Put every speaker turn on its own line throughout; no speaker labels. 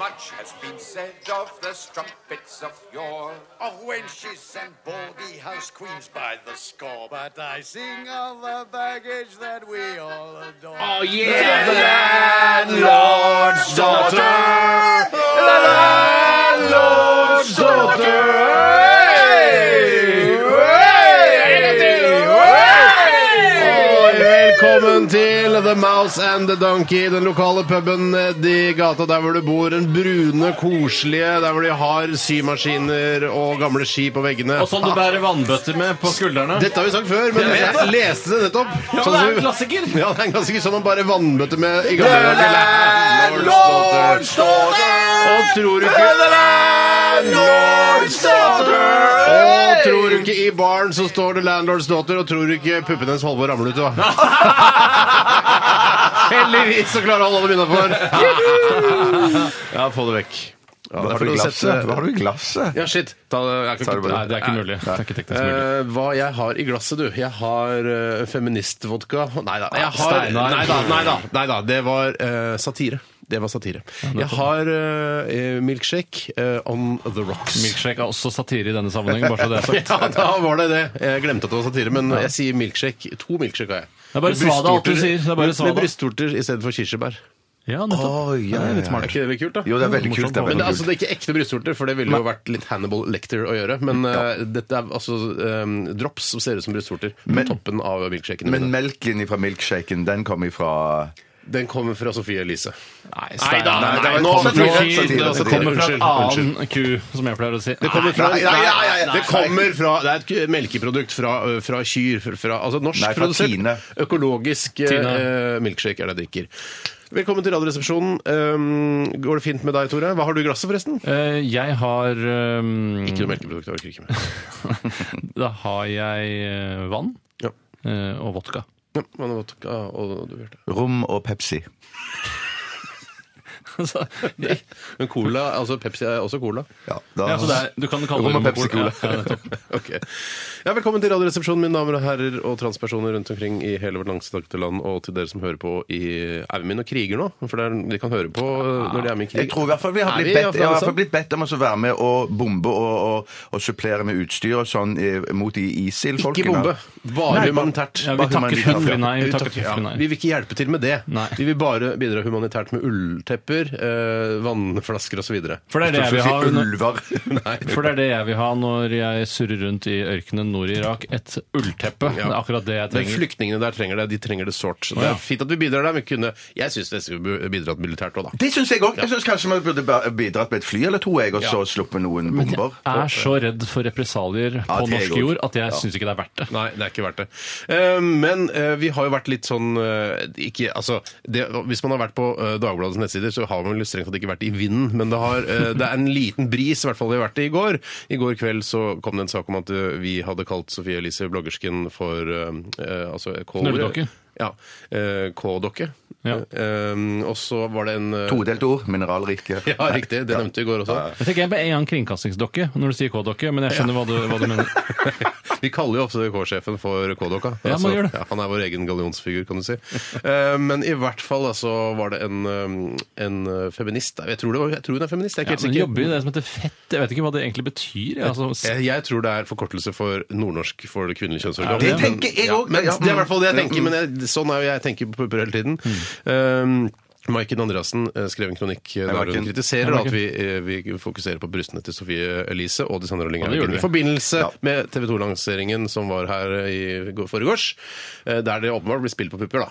Much has been said of the strumpets of yore, of wenches and baldy house queens by the score. But I sing of the baggage that we all adore. Oh, yeah! The landlord's daughter! The landlord's daughter! Hey!
Oi, Velkommen til The Mouse and the Donkey, den lokale puben nedi gata der hvor du bor. Den brune, koselige, der hvor de har symaskiner og gamle ski på veggene.
Og sånn du bærer vannbøtter med på skuldrene.
Dette har vi sagt før, men jeg, leste det nettopp. Sånn
Ja, men det er en klassiker!
Ja, det er en klassiker som man bare vannbøtte med i gamle dager. Landlords daughter. Og tror du ikke Og tror du ikke i baren så står det Landlords daughter, og tror du ikke puppen hennes holder på å ramle ut, da? Heldigvis så klarer alle å holde dem innafor. Ja, få det vekk. Ja,
Hva
det er
har du i
for å
glasset?
sette-
Hva har du i glasset?
Ja, shit. Ta, det. jeg
Ta
kan
det
ikke,
bare.
Nei, det er ikke mulig. Det er ikke teknisk mulig.
Eh, hva jeg har i glasset, du? Jeg har eh, feministvodka Nei da. Jeg har,
Steinar.
nei, da, nei, da, nei da. Det var eh, satire. Det var satire. Jeg har eh, milkshake eh, on the rocks.
Milkshake er også satire i denne sammenhengen, bare så det er sagt.
Ja, da var det det. Jeg glemte at det var satire, men jeg sier milkshake. To milkshake har jeg.
Det er bare svada, alt du
Brystvorter-
sier. Det er bare svada.
Med brystvorter i stedet for kirsebær.
Ja, nettopp.
Oi, ja, ja, ja.
Er ikke det litt kult, da?
Jo, det er veldig
Morsomt.
kult. Det er
Men det,
veldig
er altså,
kult.
det er ikke ekte brystvorter, for det ville jo vært litt Hannibal Lecter å gjøre. Men eh, dette er altså eh, drops som ser ut som brystvorter på
Men-
toppen av milkshaken.
Men melken fra milkshaken, den kom ifra
Den kommer fra Sofie Elise.
Nei,
Nei,
Steinar.
nei,
Det
nå-
kommer
nå-
fra-
satire, satire.
det kommer fra en
Unnskyld,
annen ku, som jeg pleier å si.
Det kommer fra,
Nei, nei, nei, nei, nei.
det kommer fra Det er et k- melkeprodukt fra, ø, fra kyr. Fra, fra, altså
Nei, fra Tine.
norskprodusert økologisk ø,
Tine.
ø, milkshake er det jeg drikker. Velkommen til Radioresepsjonen. Um, går det fint med deg, Tore? Hva har du i glasset, forresten?
Eh, Jeg har ehm,
Ikke noe melkeprodukt. Jeg orker ikke mer.
Da har jeg eh, vann
Ja.
eh, og vodka.
Ja, men vodka og du hørte.
rom og Pepsi.
Så det-
Men cola, altså Pepsi er også cola.
Ja, da,
ja, så det er, du kan kalle det
Rom og
monopol.
Pepsi-cola.
Ja, ja, nettopp.
Ok. Ja, velkommen til Radioresepsjonen, mine damer og herrer og transpersoner rundt omkring i hele vårt langstrakte land, og til dere som hører på i Er vi med og kriger nå? For det er, de kan høre på ø, når de er med i krig.
Jeg tror i hvert fall vi har
Er
blitt
vi i
bedt, jeg har i hvert
Afghanistan?
fall blitt bedt om å være med og bombe og, og, og supplere med utstyr og sånn eh, mot de ISIL-folkene.
Ikke bombe. Bare
Nei,
humanitært.
Ja, vi
Bare
takker
humanitært.
høflig nei. Vi
Vi,
takker høflig
ja,
nei.
vi vil ikke hjelpe til med det.
Nei.
Vi vil bare bidra humanitært med ulltepper, eh, vannflasker osv.
For det er det jeg
Så
vil ha.
si
når-
ulver.
For det er det jeg vil ha når jeg surrer rundt i ørkenen nord i Irak. Et ullteppe. Det er akkurat det jeg
Men
trenger.
flyktningene der trenger det. De trenger det sårt. Så
Å,
Det
ja.
er fint at vi bidrar der, men kunne Jeg syns vi skulle bidratt militært òg, da.
Det syns jeg òg. Jeg syns kanskje man burde ba- bidratt med et fly eller to, jeg, og så sluppet noen bomber.
Jeg er så redd for represalier på
det er
norsk
godt.
jord at jeg syns ikke det er verdt det.
Nei, det er ikke verdt det. Eh, men eh, vi har jo vært litt sånn eh, ikke, altså, det, Hvis man har vært på eh, Dagbladets nettsider, så har man vel strengt tatt ikke vært i vinden, men det, har, eh, det er en liten bris, i hvert fall vi har vært det i går. I går kveld så kom det en sak om at eh, vi hadde kalt Sofie Elise bloggersken for eh, eh, altså, K-ordet.
Snurredokke.
Ja. eh, K-dokke.
Ja.
Eh, og så var det en eh,
Todelt ord. Mineralrike.
Ja, riktig. Det nevnte vi i går også.
Jeg tenker jeg på en gang kringkastingsdokke når du sier K-dokke, men jeg skjønner hva, du, hva du mener.
Vi kaller jo ofte K-sjefen for K-dokka.
Ja, man gjør det.
ja, han er vår egen gallionsfigur, kan du si. Eh, Men i hvert fall altså, var det en, eh, en eh, feminist Jeg tror, det var, jeg tror hun er feminist, jeg er
Ja,
ikke
men
helt
jobber i
sikker. Eh,
det som heter fett. Jeg vet ikke hva det egentlig betyr. jeg, Altså, s-
Jeg, jeg tror det er forkortelse for nordnorsk for det kvinnelige kjønnsorgan.
det?
Men-
Det tenker jeg
ja,
også.
men
Ja,
Det er i hvert fall det jeg
mm.
tenker, men jeg, sånn er jo jeg tenker på pupper hele tiden. Um, Maiken Andreassen eh, skrev en kronikk
Hei,
eh, der hun
Maiken.
kritiserer da, at vi, eh, vi fokuserer på brystene til Sofie Elise og de Sandra
Ja, det
Lynghaugen
gjorde vi.
i forbindelse
Ja.
med TV 2-lanseringen som var her eh, i går- foregårs, eh, der det åpenbart blir spilt på pupper, da.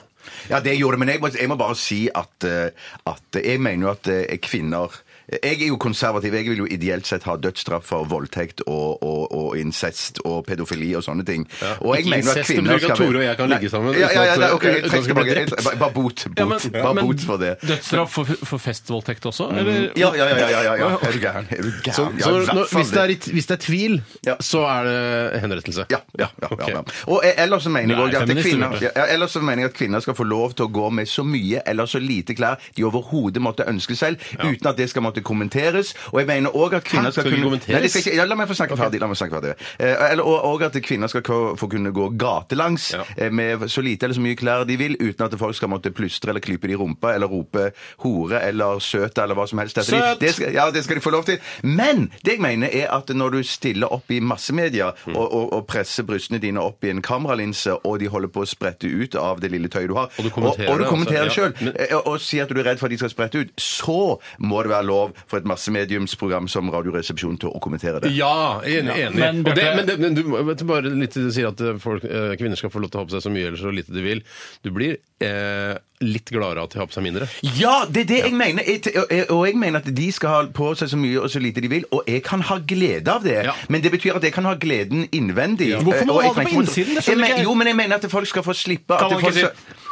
Ja, det gjorde det, men jeg må, jeg må bare si at, eh, at jeg mener jo at eh, kvinner Jeg er jo konservativ. Jeg vil jo ideelt sett ha dødsstraff for voldtekt og, og, og incest og pedofili og sånne ting. Og
Ikke incest, det betyr ikke at Tore og jeg kan ligge
Nei.
sammen
Ja, ja, ja,
uten at-
ok, jeg
uten at
trekker
vi blir
tilbake.
drept.
Bare- Bare bot. bot.
Ja, men-
bare
men
bot for det.
Dødsstraff for, for festvoldtekt også? Eller?
Ja, ja, ja. ja, ja, ja. Er du gæren? Er du gæren?
Så,
Ja,
så
i hvert
når,
fall
hvis, det er, i- hvis det er tvil,
Ja.
så er det henrettelse?
Ja. ja, ja, ja,
ok.
ja. Og eh, ellers så mener jeg
Nei,
også at
feminist,
kvinner,
Bjarte.
ja, ja, ellers så mener jeg at kvinner skal få lov til å gå med så mye eller så lite klær de overhodet måtte ønske selv, uten at det skal måtte kommenteres. Og jeg mener også at kvinner skal
Skal det
kunne
kommenteres?
Nei, det skal ikke, ja, la meg få snakke ferdig. La meg snakke ferdig. Eh, eller, og, og at kvinner skal ko- få kunne gå gatelangs eh, med så lite eller så mye klær de vil, uten at folk skal måtte plystre eller klype de i rumpa eller rope hore eller søt eller hva som helst. etter de.
Søt!
Det skal, ja, det skal de få lov til. Men det jeg mener er at når du stiller opp i massemedia
Mm.
og, og, og presser brystene dine opp i en kameralinse, og de holder på å sprette ut av det lille tøyet du har,
Og du kommenterer
og, og
det,
du kommenterer
altså, ja.
selv, eh, og, og sier at du er redd for at de skal sprette ut, så må det være lov for et massemediumsprogram som Radioresepsjonen til å kommentere det.
Ja, enig.
Ja.
enig.
Men,
Og det,
Bjarte-
men, det, men du må- vet du bare litt til du sier at eh, folk, eh, kvinner skal få lov til å ha på seg så mye eller så lite de vil. Du blir eh, litt gladere av at de har på seg mindre.
Ja, det er det jeg mener. Jeg- og- Og jeg mener at de skal ha på seg så mye og så lite de vil, og jeg kan ha glede av det.
Ja.
Men det betyr at jeg kan ha gleden innvendig. Eh,
Hvorfor må
Og
du
jeg
ha det
kan
på
ikke-
innsiden? Det skjønner
Jeg men-
ikke jeg.
Jo, men jeg mener at folk skal få slippe at
Kan man
folk
ikke
skal-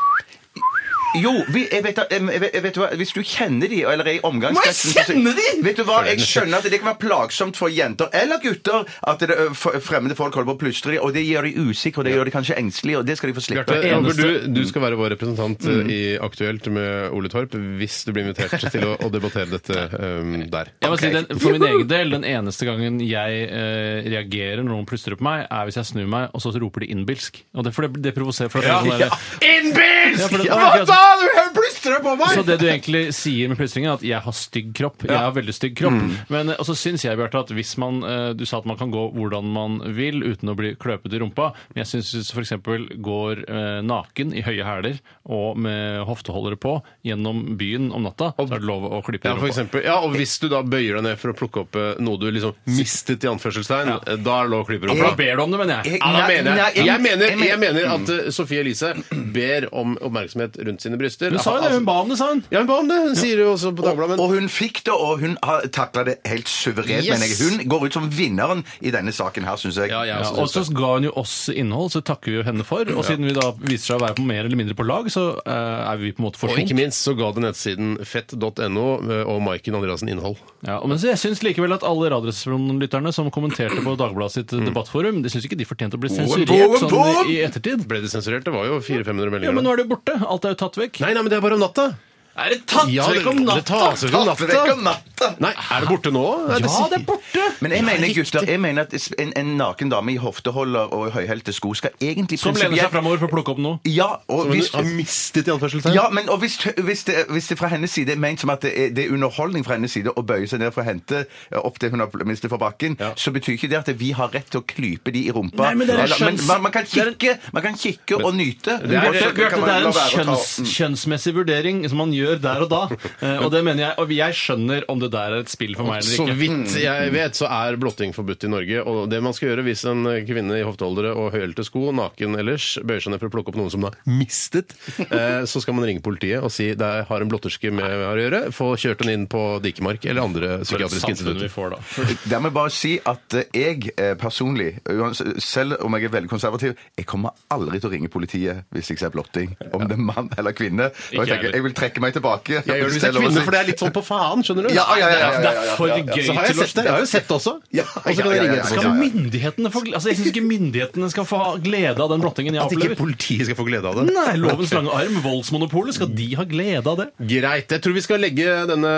jo, vi, jeg vet, at- jeg vet, jeg vet hva, hvis du kjenner de, eller er i omgangskretsen
Må jeg kjenne
de?! Vet du hva, Jeg skjønner at det kan være plagsomt for jenter eller gutter at det, ø, f- fremmede folk holder på å plystre de, og det gjør de usikre, og det gjør de kanskje engstelige, og det skal de få slippe.
Bjarte, jeg håper
eneste- Mm.
du, du skal være vår representant eh, i Aktuelt med Ole Torp hvis du blir invitert til å, å debattere dette eh, der.
Jeg må si,
Ok.
den, For min egen del, den eneste gangen jeg eh, reagerer når noen plystrer på meg, er hvis jeg snur meg, og så roper de 'innbilsk'. Og det, for det, det provoserer. For at det er sånn der- Ja,
Innbilsk!
for det- Hva da?
Du plystrer på
Så det du egentlig sier med plystringen, er at 'jeg har stygg kropp'. Jeg har veldig stygg kropp.
Mm.
Men, eh, og så syns jeg, Bjarte, at hvis man eh, Du sa at man kan gå hvordan man vil uten å bli kløpet i rumpa. Men jeg syns hvis du f.eks. går eh, naken i høye hæler og med hofteholdere på gjennom byen om natta, så er det lov å klippe i
Ja, for
rumpa.
eksempel, ja, og hvis du da bøyer deg ned for å plukke opp eh, noe du liksom mistet i anførselstegn, eh, da er det lov å klippe
For da
rumpa.
ber du om det, mener jeg.
Jeg-
Ja, da
Nei,
mener
nei,
jeg. Jeg mener,
jeg
jeg mener at eh, Sophie Elise ber om oppmerksomhet rundt sine bryster.
Hun sa jo det, hun ba om det, sa hun.
Ja, hun ba om det, hun sier det jo også på Dagbladet.
Og
Men
hun fikk det, og hun har takla det helt suverent.
Yes.
Men jeg, hun går ut som vinneren i denne saken her, syns jeg.
jeg
Ja,
også
og
synes
så ga hun jo oss innhold, så takker vi jo henne for. Og siden vi da viser seg å være på mer eller mindre på lag, så eh, er vi på en måte
og ikke
forsont.
minst så ga det nettsiden fett.no eh, og Maiken Andreassen innhold.
Ja, men så jeg syns likevel at alle Radioresepsjonen-lytterne som kommenterte på Dagbladet sitt debattforum, de syns ikke de fortjente å bli sensurert
boom,
sånn
boom!
i ettertid.
Ble de sensurert? Det var jo 400-500
Ja,
meldinger.
men
da.
nå er det jo borte. Alt er jo tatt vekk.
Nei, nei, men det er bare om natta!
Er det tatt
Ja, det,
vekk om
det
natta?
tas vekk om
Tatt vekk om natta!
natta! Nei, er det borte nå? Nei,
Ja,
sier-
det er borte!
Men jeg mener, gutter, jeg mener at en, en naken dame i hofteholder og høyhælte sko skal egentlig
Som lener seg
prinsipielt-
framover for å plukke opp noe.
Ja, og
Som hun
hvis...
har mistet i anførselstegn.
Ja, men og hvis, hvis, det, hvis det fra hennes side er ment som at det er, det er underholdning fra hennes side å bøye seg ned for å hente eh, opp det hun har mistet fra bakken, så betyr ikke det at vi har rett til å klype de i rumpa.
Nei, men det er
Eller-
skjønns-
man, man, kan
det er en-
kikke, man kan kikke og nyte.
Det er,
Og så kan
Bjarte,
man
det er
la
en
være å ta-
kjønns, kjønnsmessig vurdering som man gjør der og da. Eh, Og det mener jeg, og jeg skjønner om det der er et spill for meg eller
Så
ikke.
vidt jeg vet, så er blotting forbudt i Norge. Og det man skal gjøre hvis en kvinne i hofteholdere og høyhælte sko, naken ellers, bøyer seg ned for å plukke opp noen som den har mistet, eh, så skal man ringe politiet og si det har en blotterske med å gjøre. Få kjørt henne inn på Dikemark eller andre
For et
psykiatriske
samfunn vi
institutter.
får da.
Der må jeg bare si at eh, jeg eh, personlig, uans- selv om jeg er veldig konservativ, jeg kommer aldri til å ringe politiet hvis jeg ser blotting. Om det er mann eller kvinne. Og
Ikke
jeg, tenker,
heller.
jeg vil trekke meg tilbake.
Jeg gjør det hvis jeg er
Selv om jeg-
kvinne, for det er litt sånn på faen, skjønner du.
Ja, ja, ja, ja, ja,
Det
ja,
er
ja.
for gøy
Så har jeg
til å
sett det. Jeg har jo sett det også.
Ja,
Og så kan jeg
ja, ja,
ringe
ja,
etterpå.
Skal myndighetene få Altså, Jeg syns ikke myndighetene skal få ha glede av den blottingen jeg
At ikke
opplever.
politiet skal få glede av det.
Nei, lovens lange arm, voldsmonopolet, skal de ha glede av det?
Greit. Jeg tror vi skal legge denne,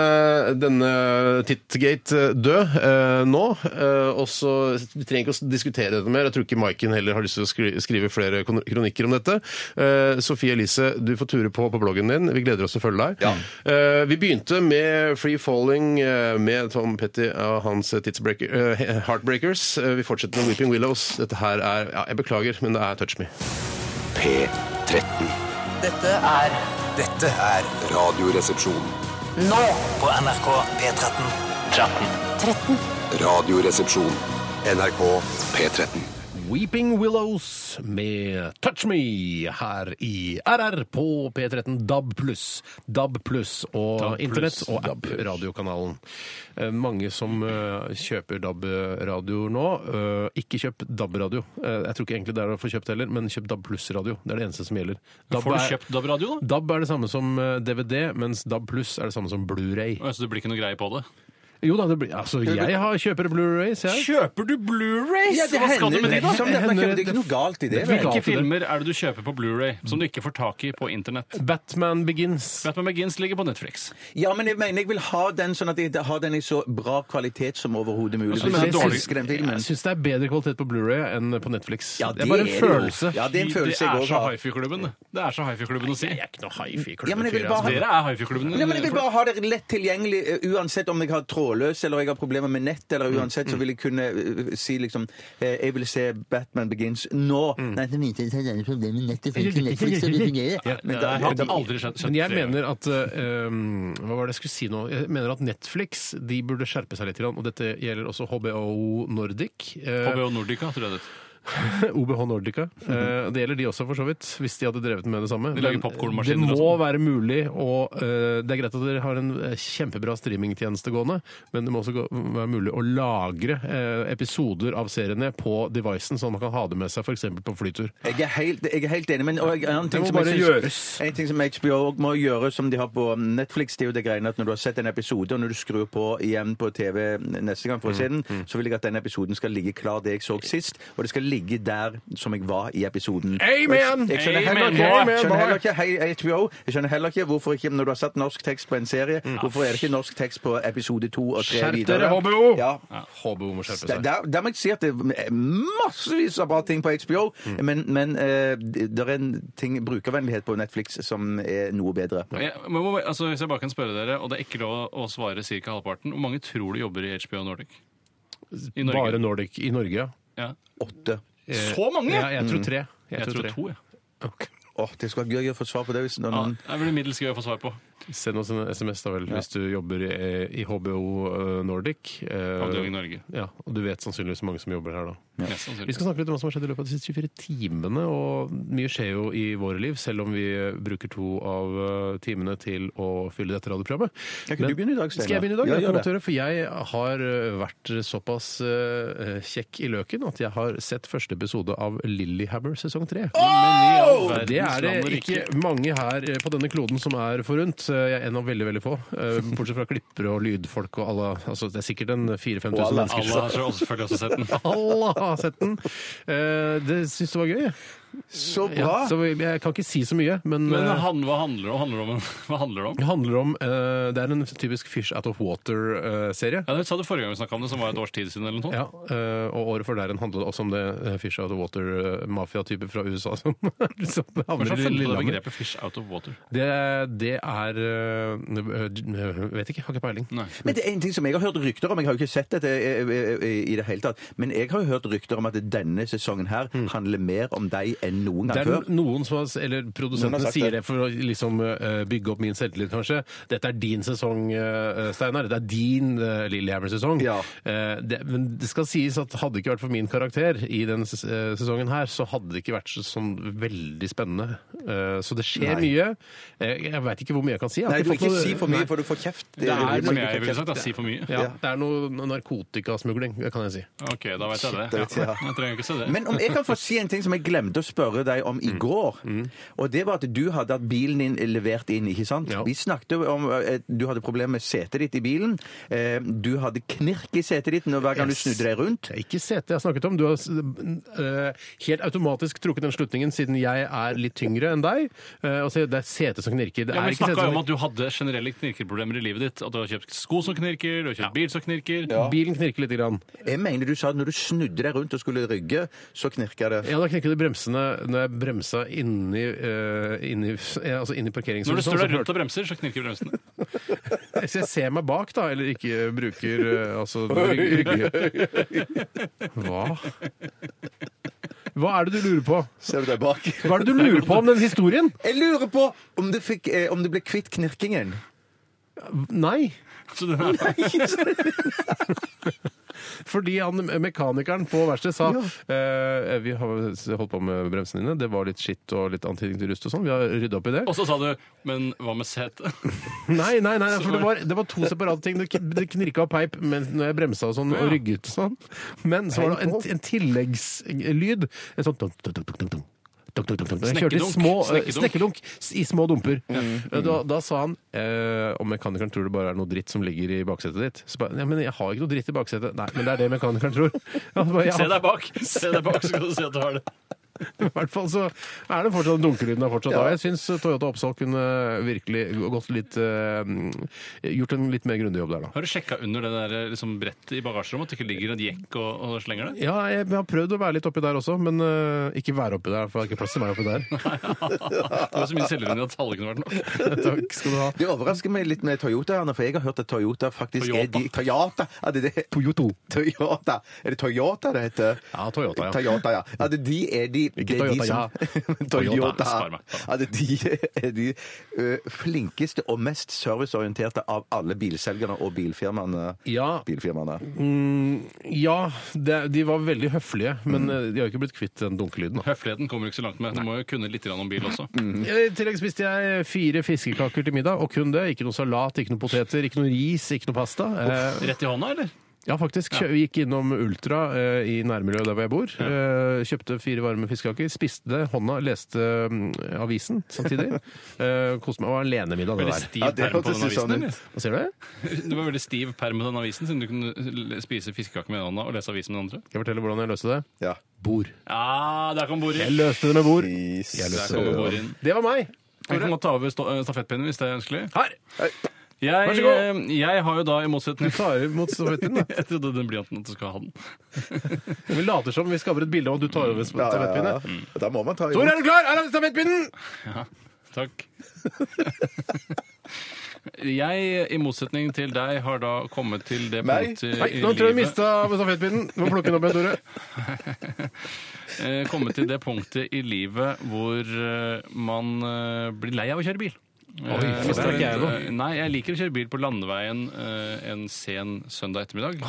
denne Titgate død eh, nå. Eh, og så Vi trenger ikke å diskutere dette mer. Jeg tror ikke Maiken heller har lyst til å skri skrive flere kon- kronikker om dette. Eh, Sofie Elise, du får ture på på bloggen din. Vi gleder oss til å følge deg. Eh, vi begynte med Free Falling eh, med Tom Petty og hans tidsbreaker- eh, Heartbreakers. Eh, vi fortsetter med Weeping Willows. Dette her er ja, Jeg beklager, men det er Touch Me.
P13.
Dette er
Dette er Radioresepsjon.
nå på NRK P13.
Radioresepsjon. NRK P13.
Weeping Willows med Touch Me her i RR på P13 DAB pluss. DAB pluss og
DAB+,
internett og app-radiokanalen. Eh, Mange som eh, kjøper DAB-radio nå. eh, Ikke kjøp DAB-radio. Eh, Jeg tror ikke egentlig det er å få kjøpt heller, men kjøp DAB pluss-radio. Det er det eneste som gjelder. DAB
Får du
er-
kjøpt DAB-radio, da?
DAB er det samme som eh, DVD, mens DAB pluss er det samme som Blu-ray.
Å, Så det blir ikke noe greie på det?
Jo da, det blir, altså, jeg har kjøper Blu-rays, jeg.
Kjøper du Blu-rays? Hva skal du med det, da?
liksom
Som dette,
det er ikke noe galt i det.
vel?
Hvilke filmer er det du kjøper på Blu-ray som du ikke får tak i på internett?
Batman Begins.
Batman Begins ligger på Netflix.
Ja, men jeg mener jeg vil ha den sånn at jeg har den i så bra kvalitet som overhodet mulig.
Altså, men det er
Jeg
dårlig-
elsker den filmen.
Jeg syns det er bedre kvalitet på Blu-ray enn på Netflix.
Ja,
det er bare en
det jo.
følelse.
Ja, det er en følelse jeg
er
også
så
har.
hifi-klubben. Det er så hifi-klubben å si.
Jeg er ikke noe hifi-klubb.
Ja, men jeg vil bare ha-
Dere er hifi-klubben.
Nei, men Jeg vil bare ha det lett tilgjengelig eh, uansett om jeg har trådløs eller jeg har problemer med nett. eller uansett så vil jeg kunne eh, si liksom eh, Jeg vil se Batman Begins nå. Nei, det viser seg at det er problemer med nettet. for ikke Netflix, så det fungerer. Men
Jeg
da-
hadde
da-
aldri skjønt
Men jeg
skjønt det.
mener at eh, um, Hva var det jeg skulle si nå? Jeg mener at Netflix de burde skjerpe seg litt. grann, Og dette gjelder også HBO Nordic. eh,
HBO Nordica, tror jeg det heter.
OBH Nordica. Eh, det gjelder de også, for så vidt, hvis de hadde drevet med det samme.
Mhm. De lager
Men eh, det
popcornmaskiner og sånn.
må være mulig å eh, Det er greit at dere har en eh, kjempebra streamingtjeneste gående, men det må også gå, være mulig å lagre eh, episoder av seriene på devicen, sånn at man kan ha det med seg f.eks. på flytur.
Jeg er helt, jeg er helt enig, men og jeg, en, annen ting
må
som jeg
bare
synes, en ting som HBO også må gjøre, som de har på Netflix, det er jo det greiene at når du har sett en episode, og når du skrur på igjen på TV neste gang for å se
Mm,
den, så vil jeg at den episoden skal ligge klar det jeg så sist, og det skal ligge der som jeg var i episoden.
Amen!
Og Jeg, jeg skjønner heller
Amen,
ikke,
boy!
jeg skjønner heller ikke hei, HBO, jeg skjønner heller ikke hvorfor ikke, når du har satt norsk tekst på en serie, hvorfor er det ikke norsk tekst på episode 2 og 3
Mm. Skjerp
videre?
dere, HBO!
Ja.
HBO må skjerpe
Der,
seg.
der, der må jeg si at det er massevis av bra ting på HBO, men, men eh, det er en ting, brukervennlighet på Netflix som er noe bedre.
Jeg, men, hvor- altså, hvis jeg bare kan spørre dere, og det er ikke lov å svare ca. halvparten, hvor mange tror du jobber i HBO Nordic? I Norge?
Bare Nordic i Norge, ja.
Ja.
Åtte.
Så mange?!
ja
Jeg,
jeg tror tre.
tror to, ja.
Ok.
Åh, det skulle vært gøy å få svar på det. hvis det er
ja.
noen...
Det blir middels gøy å få svar på.
Send oss en SMS da vel, hvis du jobber i, i HBO Nordic. eh,
Avdeling Norge.
Ja, og du vet sannsynligvis mange som jobber her da.
Mest sannsynlig.
Vi skal snakke litt om hva som har skjedd i løpet av de siste 24 timene. og Mye skjer jo i våre liv, selv om vi bruker to av eh, timene til å fylle dette radioprogrammet.
Kan ikke du begynne i dag, Steinar?
Skal jeg begynne i dag?
Ja,
Ja,
gjør
jeg
det.
for jeg har eh, vært såpass eh, kjekk i løken at jeg har sett første episode av Lillyhammer sesong tre.
verdens
Det er det
land og
ikke mange her eh, på denne kloden som er forunt. Eh, Jeg er en av veldig, veldig få. eh, Bortsett fra klippere og lydfolk og alle. Altså, det er sikkert en 4000-5000
Og alle.
mennesker.
Alle har så- selvfølgelig også sett den.
Alle har sett den! Eh, Det syns det var gøy.
Så bra!
Ja, så jeg kan ikke si så mye, men,
Men
eh,
han, hva handler det om? Handler det om en- Hva handler det om?
det handler om eh, Det er en typisk Fish Out of Water-serie.
Ja, det sa du forrige gang vi snakka om det, som var et års tid siden eller noe.
Ja, eh, og året før der igjen handlet det også om det eh, Fish Out of Water-mafia-type fra USA som liksom som
Hva
havner
er
i
det som funnet på det
Lillehammer.
begrepet 'fish out of water'?
Det, det er eh, eh, Vet ikke, har ikke peiling.
Nei.
Men det er en ting som jeg har hørt rykter om, jeg har jo ikke sett dette eh, eh, i det hele tatt, men jeg har jo hørt rykter om at denne sesongen her handler mer om deg enn noen
Det
gang
er
før.
noen som har, eller
Noen har
Produsentene
sagt
sier det
det.
for å liksom eh, bygge opp min selvtillit, kanskje. Dette er din sesong, eh, Steinar. Det er din uh, Lillehammer-sesong.
Ja.
Eh, det, men det skal sies at hadde det ikke vært for min karakter i den ses- eh, sesongen her, så hadde det ikke vært så, sånn veldig spennende. Eh, så det skjer
Nei.
mye. Eh, jeg veit ikke hvor mye jeg kan si. Jeg har
Nei, du må
fått
ikke
noe-
si for mye,
Nei.
for du får kjeft.
Det
du
er
må
som
ikke
jeg
få kjeft.
ville sagt, da. Si for mye.
Ja, det er noe narkotikasmugling, det kan jeg si.
OK, da vet jeg det.
Da vet jeg, ja.
Jeg trenger ikke se det.
Men om jeg kan få si en ting som jeg glemte å spørre deg om i går. Og det var at du hadde hatt bilen din levert inn, ikke sant?
Ja.
Vi snakket jo om eh, du hadde problemer med setet ditt i bilen. Eh, Du hadde knirk i setet ditt når hver gang du
Yes.
snudde deg rundt.
Det er ikke setet jeg har snakket om. Du har eh, helt automatisk trukket den slutningen siden jeg er litt tyngre enn deg. Eh, og så det er setet som knirker. Det
Ja,
er
men Vi
ikke setet
snakka
som
om at du hadde generelle knirkeproblemer i livet ditt. At du har kjøpt sko som knirker, du har kjøpt bil som knirker.
Bilen knirker litt. Grann.
Jeg mener du sa at når du snudde deg rundt og skulle rygge, så knirka det.
Ja, da knirket det i bremsene når jeg bremsa inni, uh, inni, eh, altså inni parkeringshuset.
Når du
så
står der rundt
hørte-
og bremser, så knirker bremsene.
Hvis jeg ser meg bak, da, eller ikke bruker eh, altså rygg- rygge Hva? Hva er det du lurer på?
Ser du deg bak?
Hva er det du lurer på om den historien?
Jeg lurer på om du, fikk, eh, om du ble kvitt knirkingen.
Nei.
Så den er,
Fordi han mekanikeren på verkstedet sa eh, vi har holdt på med bremsene dine, det var litt skitt og litt antinikkerrust og sånn, vi har rydda opp i det.
Og så sa du Men hva med setet?
Nei, nei, nei, for det var, det var to separate ting. Det kn- Det knirka og peip mens når jeg bremsa og sånn, og rygget og sånn. Men så var det en, en tilleggslyd. En sånn dunk, dunk, dunk, dunk, dunk. Dunk, dunk, dunk, dunk. Jeg kjørte i
Snekkedunk.
små, eh,
Snekkedunk.
snekkedunk s- i små dumper. Eh, Da, da sa han eh, om mekanikeren tror det bare er noe dritt som ligger i baksetet ditt. Så ba, ja, men jeg har ikke noe dritt i baksetet. Nei, men det er det mekanikeren tror. Ja, så ba, ja.
Se deg bak, Se deg bak, så skal du se at du har det.
I hvert fall så er det fortsatt dunkelyden er fortsatt. da. Jeg syns Toyota Oppsal kunne virkelig gått litt eh, Gjort en litt mer grundig jobb der, da.
Har du sjekka under det der liksom, brettet i bagasjerommet at det ikke ligger en jekk og, og slenger det?
Ja, jeg har prøvd å være litt oppi der også, men eh, ikke være oppi der, for det er ikke plass til meg oppi der.
Det var så mye selvironi at tallet kunne vært nok.
Takk skal du ha.
Det overrasker meg litt med Toyota, Arne, for jeg har hørt at Toyota faktisk er
Toyota.
de Toyota! Er det det?
Toyoto.
Toyota. Er det Toyota det heter?
Ja, Toyota, ja.
Toyota, ja. ja det, de er de
Ikke
det er
Toyota,
de som-
Toyota,
Toyota.
spar meg.
Ja, det de er de ø, flinkeste og mest serviceorienterte av alle bilselgerne og bilfirmaene.
Ja.
bilfirmaene.
Ja, det, de var veldig høflige, men eh, de har jo ikke blitt kvitt den dunkelyden. da.
Høfligheten kommer du ikke så langt med. Du må jo kunne litt grann om bil også.
Mm. I tillegg spiste jeg fire fiskekaker til middag, og kun det. Ikke noe salat, ikke noe poteter, ikke noe ris, ikke noe pasta. Eh,
Rett i hånda, eller?
Ja, faktisk. Kjø- Vi gikk innom Ultra eh, i nærmiljøet der hvor jeg bor. Eh, kjøpte fire varme fiskekaker, spiste det, hånda, leste mm, avisen samtidig. eh, Koste meg. Og alenemiddag. det
Veldig
der.
stiv
det
perm på
hørtes
den
sånn ut.
avisen, eller?
Hva sier du?
Det var veldig stiv perm med den avisen, siden du kunne l- spise fiskekaker med den hånda og lese avisen med den andre.
Skal jeg fortelle hvordan jeg løste det?
Ja.
Bord.
Ja, der kom bordet
Jeg
inn!
løste det med bord.
Jeg
Der kommer bordet inn.
Det var meg.
Jeg kan godt ta over sta- stafettpinnen hvis det er ønskelig.
Her! Vær
Jeg,
så
eh,
god.
jeg har jo da, i
Du
motsetning
tar imot stafettpinnen. da.
Jeg trodde den blyanten at du skulle ha den.
Vi later som vi skaper et bilde av at du tar over stafettpinnen.
Da må man ta
Tor,
imot.
er du klar? Her er stafettpinnen!
Takk. Jeg, i motsetning til deg, har da kommet til det
Meg?
punktet
Nei,
i
nå tror jeg du
livet
mista stafettpinnen. Du må plukke den opp igjen, Tore.
eh, Kommet til det punktet i livet hvor eh, man eh, blir lei av å kjøre bil. Eh, Oi,
det er ikke jeg
Nei, jeg liker å kjøre bil på landeveien eh, en sen søndag ettermiddag.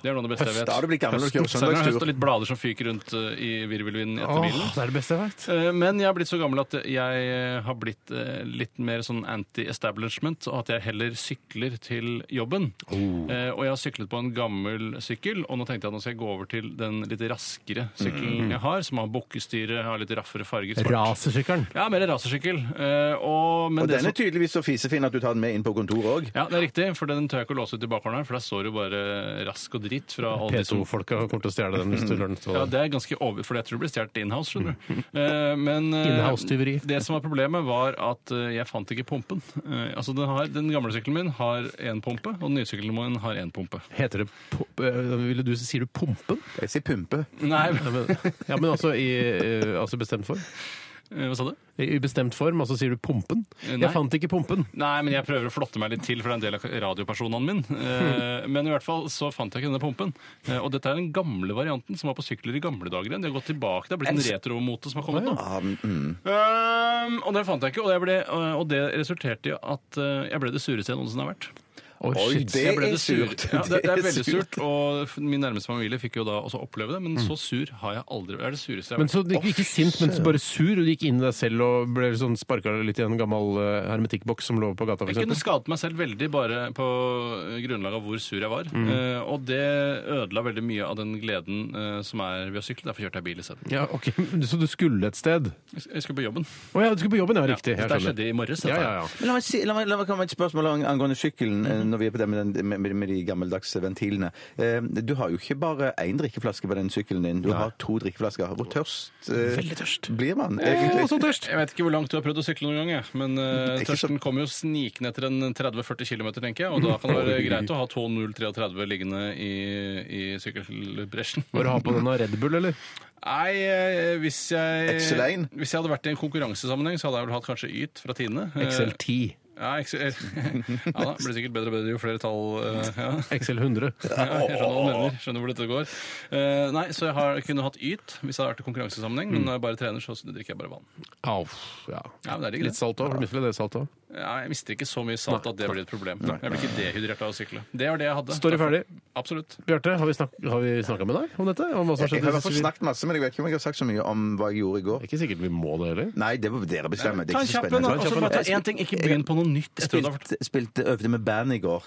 Det er noe av det beste jeg vet.
Da har du blitt gammel og kjørt
Høsten. Særlig når det er høst og
søndagstur.
litt blader som fyker rundt eh, i virvelvinden etter
Åh,
bilen.
det er det beste jeg vet.
Eh, Men jeg har blitt så gammel at jeg eh, har blitt eh, litt mer sånn anti-establishment, og at jeg heller sykler til jobben.
Oh.
Eh, Og jeg har syklet på en gammel sykkel, og nå tenkte jeg at nå skal jeg gå over til den litt raskere sykkelen
Mm.
jeg har, som har bukkestyre, har litt raffere farger. svart.
Racersykkelen.
Ja, mer rasersykkel. Eh, Og, men
Og
det
den er
som-
tydeligvis så fisefin at du tar den med inn på kontoret òg.
ja, det er riktig, for den tør jeg ikke å låse ut i bakhånden her, for der står det jo bare rask og dritt fra alle de som
P2-folka kommer til å stjele den hvis du lar den stå
Ja,
der.
det er ganske over, for jeg tror det blir stjålet inhouse, skjønner du. Eh, Men eh,
Inhouse-tyveri.
det som var problemet, var at eh, jeg fant ikke pumpen. Eh, Altså, den, har, den gamle sykkelen min har én pumpe, og den nye sykkelen min har én pumpe.
Heter det pump... Ville du, sier du pumpen?
Jeg sier pumpe.
Nei,
Ja, men, ja, men altså i eh, altså bestemt form.
hva sa du?
I bestemt form, altså sier du pumpen.
Nei.
Jeg fant ikke pumpen.
Nei, men jeg prøver å flotte meg litt til, for det er en del av radiopersonene min. Eh, Men i hvert fall så fant jeg ikke denne pumpen. Eh, Og dette er den gamle varianten som var på sykler i gamle dager igjen. De har gått tilbake, det har blitt en retromote som har kommet nå. Um, og den fant jeg ikke, og, jeg ble, eh, og det resulterte i at eh, jeg ble det sureste jeg noensinne har vært.
Oi, det
jeg ble
er
sur-
surt.
Ja, det, det er veldig surt, og f- min nærmeste familie fikk jo da også oppleve det, men så sur har jeg aldri Det er det sureste jeg
Mm.
har
Men
vært.
så du gikk ikke sint, men bare sur, og du gikk inn i deg selv og ble sånn sparka litt i en gammel eh, hermetikkboks som lå på gata, for
Jeg kunne
eksempel.
skadet meg selv veldig bare på eh, grunnlag av hvor sur jeg var.
Mm.
Eh, og det ødela veldig mye av den gleden eh, som er ved å sykle. Derfor kjørte jeg bil isteden.
Ja, ok, men Så du skulle et sted? Å
Jeg jeg skulle på jobben.
ja, du skulle på jobben, ja. Riktig.
Ja,
Jeg
dette
skjønner.
skjedde i morges. dette
Ja, ja,
her.
ja.
Men La meg, si, la, meg, la meg komme med et spørsmål ang- angående sykkelen, eh,
Mhm.
når vi er på det med, den, med, med de gammeldagse ventilene. Eh, Du har jo ikke bare én drikkeflaske på den sykkelen din, du har to drikkeflasker. Hvor tørst eh, blir man
Eh,
egentlig?
Å, så tørst!
Jeg vet ikke hvor langt du har prøvd å sykle noen gang, jeg. men eh,
Ikke så-
tørsten kommer jo snikende etter en 30-40 km, tenker jeg. Og da kan det være greit å ha 2.033 liggende i, i sykkelbresjen.
Bare ha på denne Red Bull, eller?
Nei, eh, hvis jeg,
Excel-ein?
hvis jeg hadde vært i en konkurransesammenheng, så hadde jeg vel hatt kanskje Yt fra Tine. Eh,
Excel 10.
Ja, Excel, ja da, blir sikkert bedre og bedre jo flere tall eh, ja.
Excel 100.
Ja, jeg skjønner hva du mener. Skjønner hvor dette går. Eh, nei, så jeg har, kunne hatt yt hvis jeg hadde vært i konkurransesammenheng,
Mm.
men når jeg bare trener, så drikker jeg bare vann.
Au, ja.
Ja, men det er digg, det.
Litt salt òg. Mister det salt òg.
Ja, jeg mister ikke så mye salt at det blir et problem. Jeg blir ikke dehydrert av å sykle. Det var det jeg hadde.
Står det ferdig?
Absolutt.
Bjarte, har vi snakka med deg om dette? Om hva som
Jeg
har skjedd?
har i hvert
siste
fall snakket masse, men jeg vet ikke om jeg har sagt så mye om hva jeg gjorde i
uke?
går.
Ikke sikkert vi må det heller.
Nei, det må dere bestemme. Det er
Ta en
ikke så
kjapp en, da.
spennende.
Og så bare ta én ting. Ikke begynn på noe nytt.
Jeg
etter det har vært-
spilte, spilte, øvde med band i går.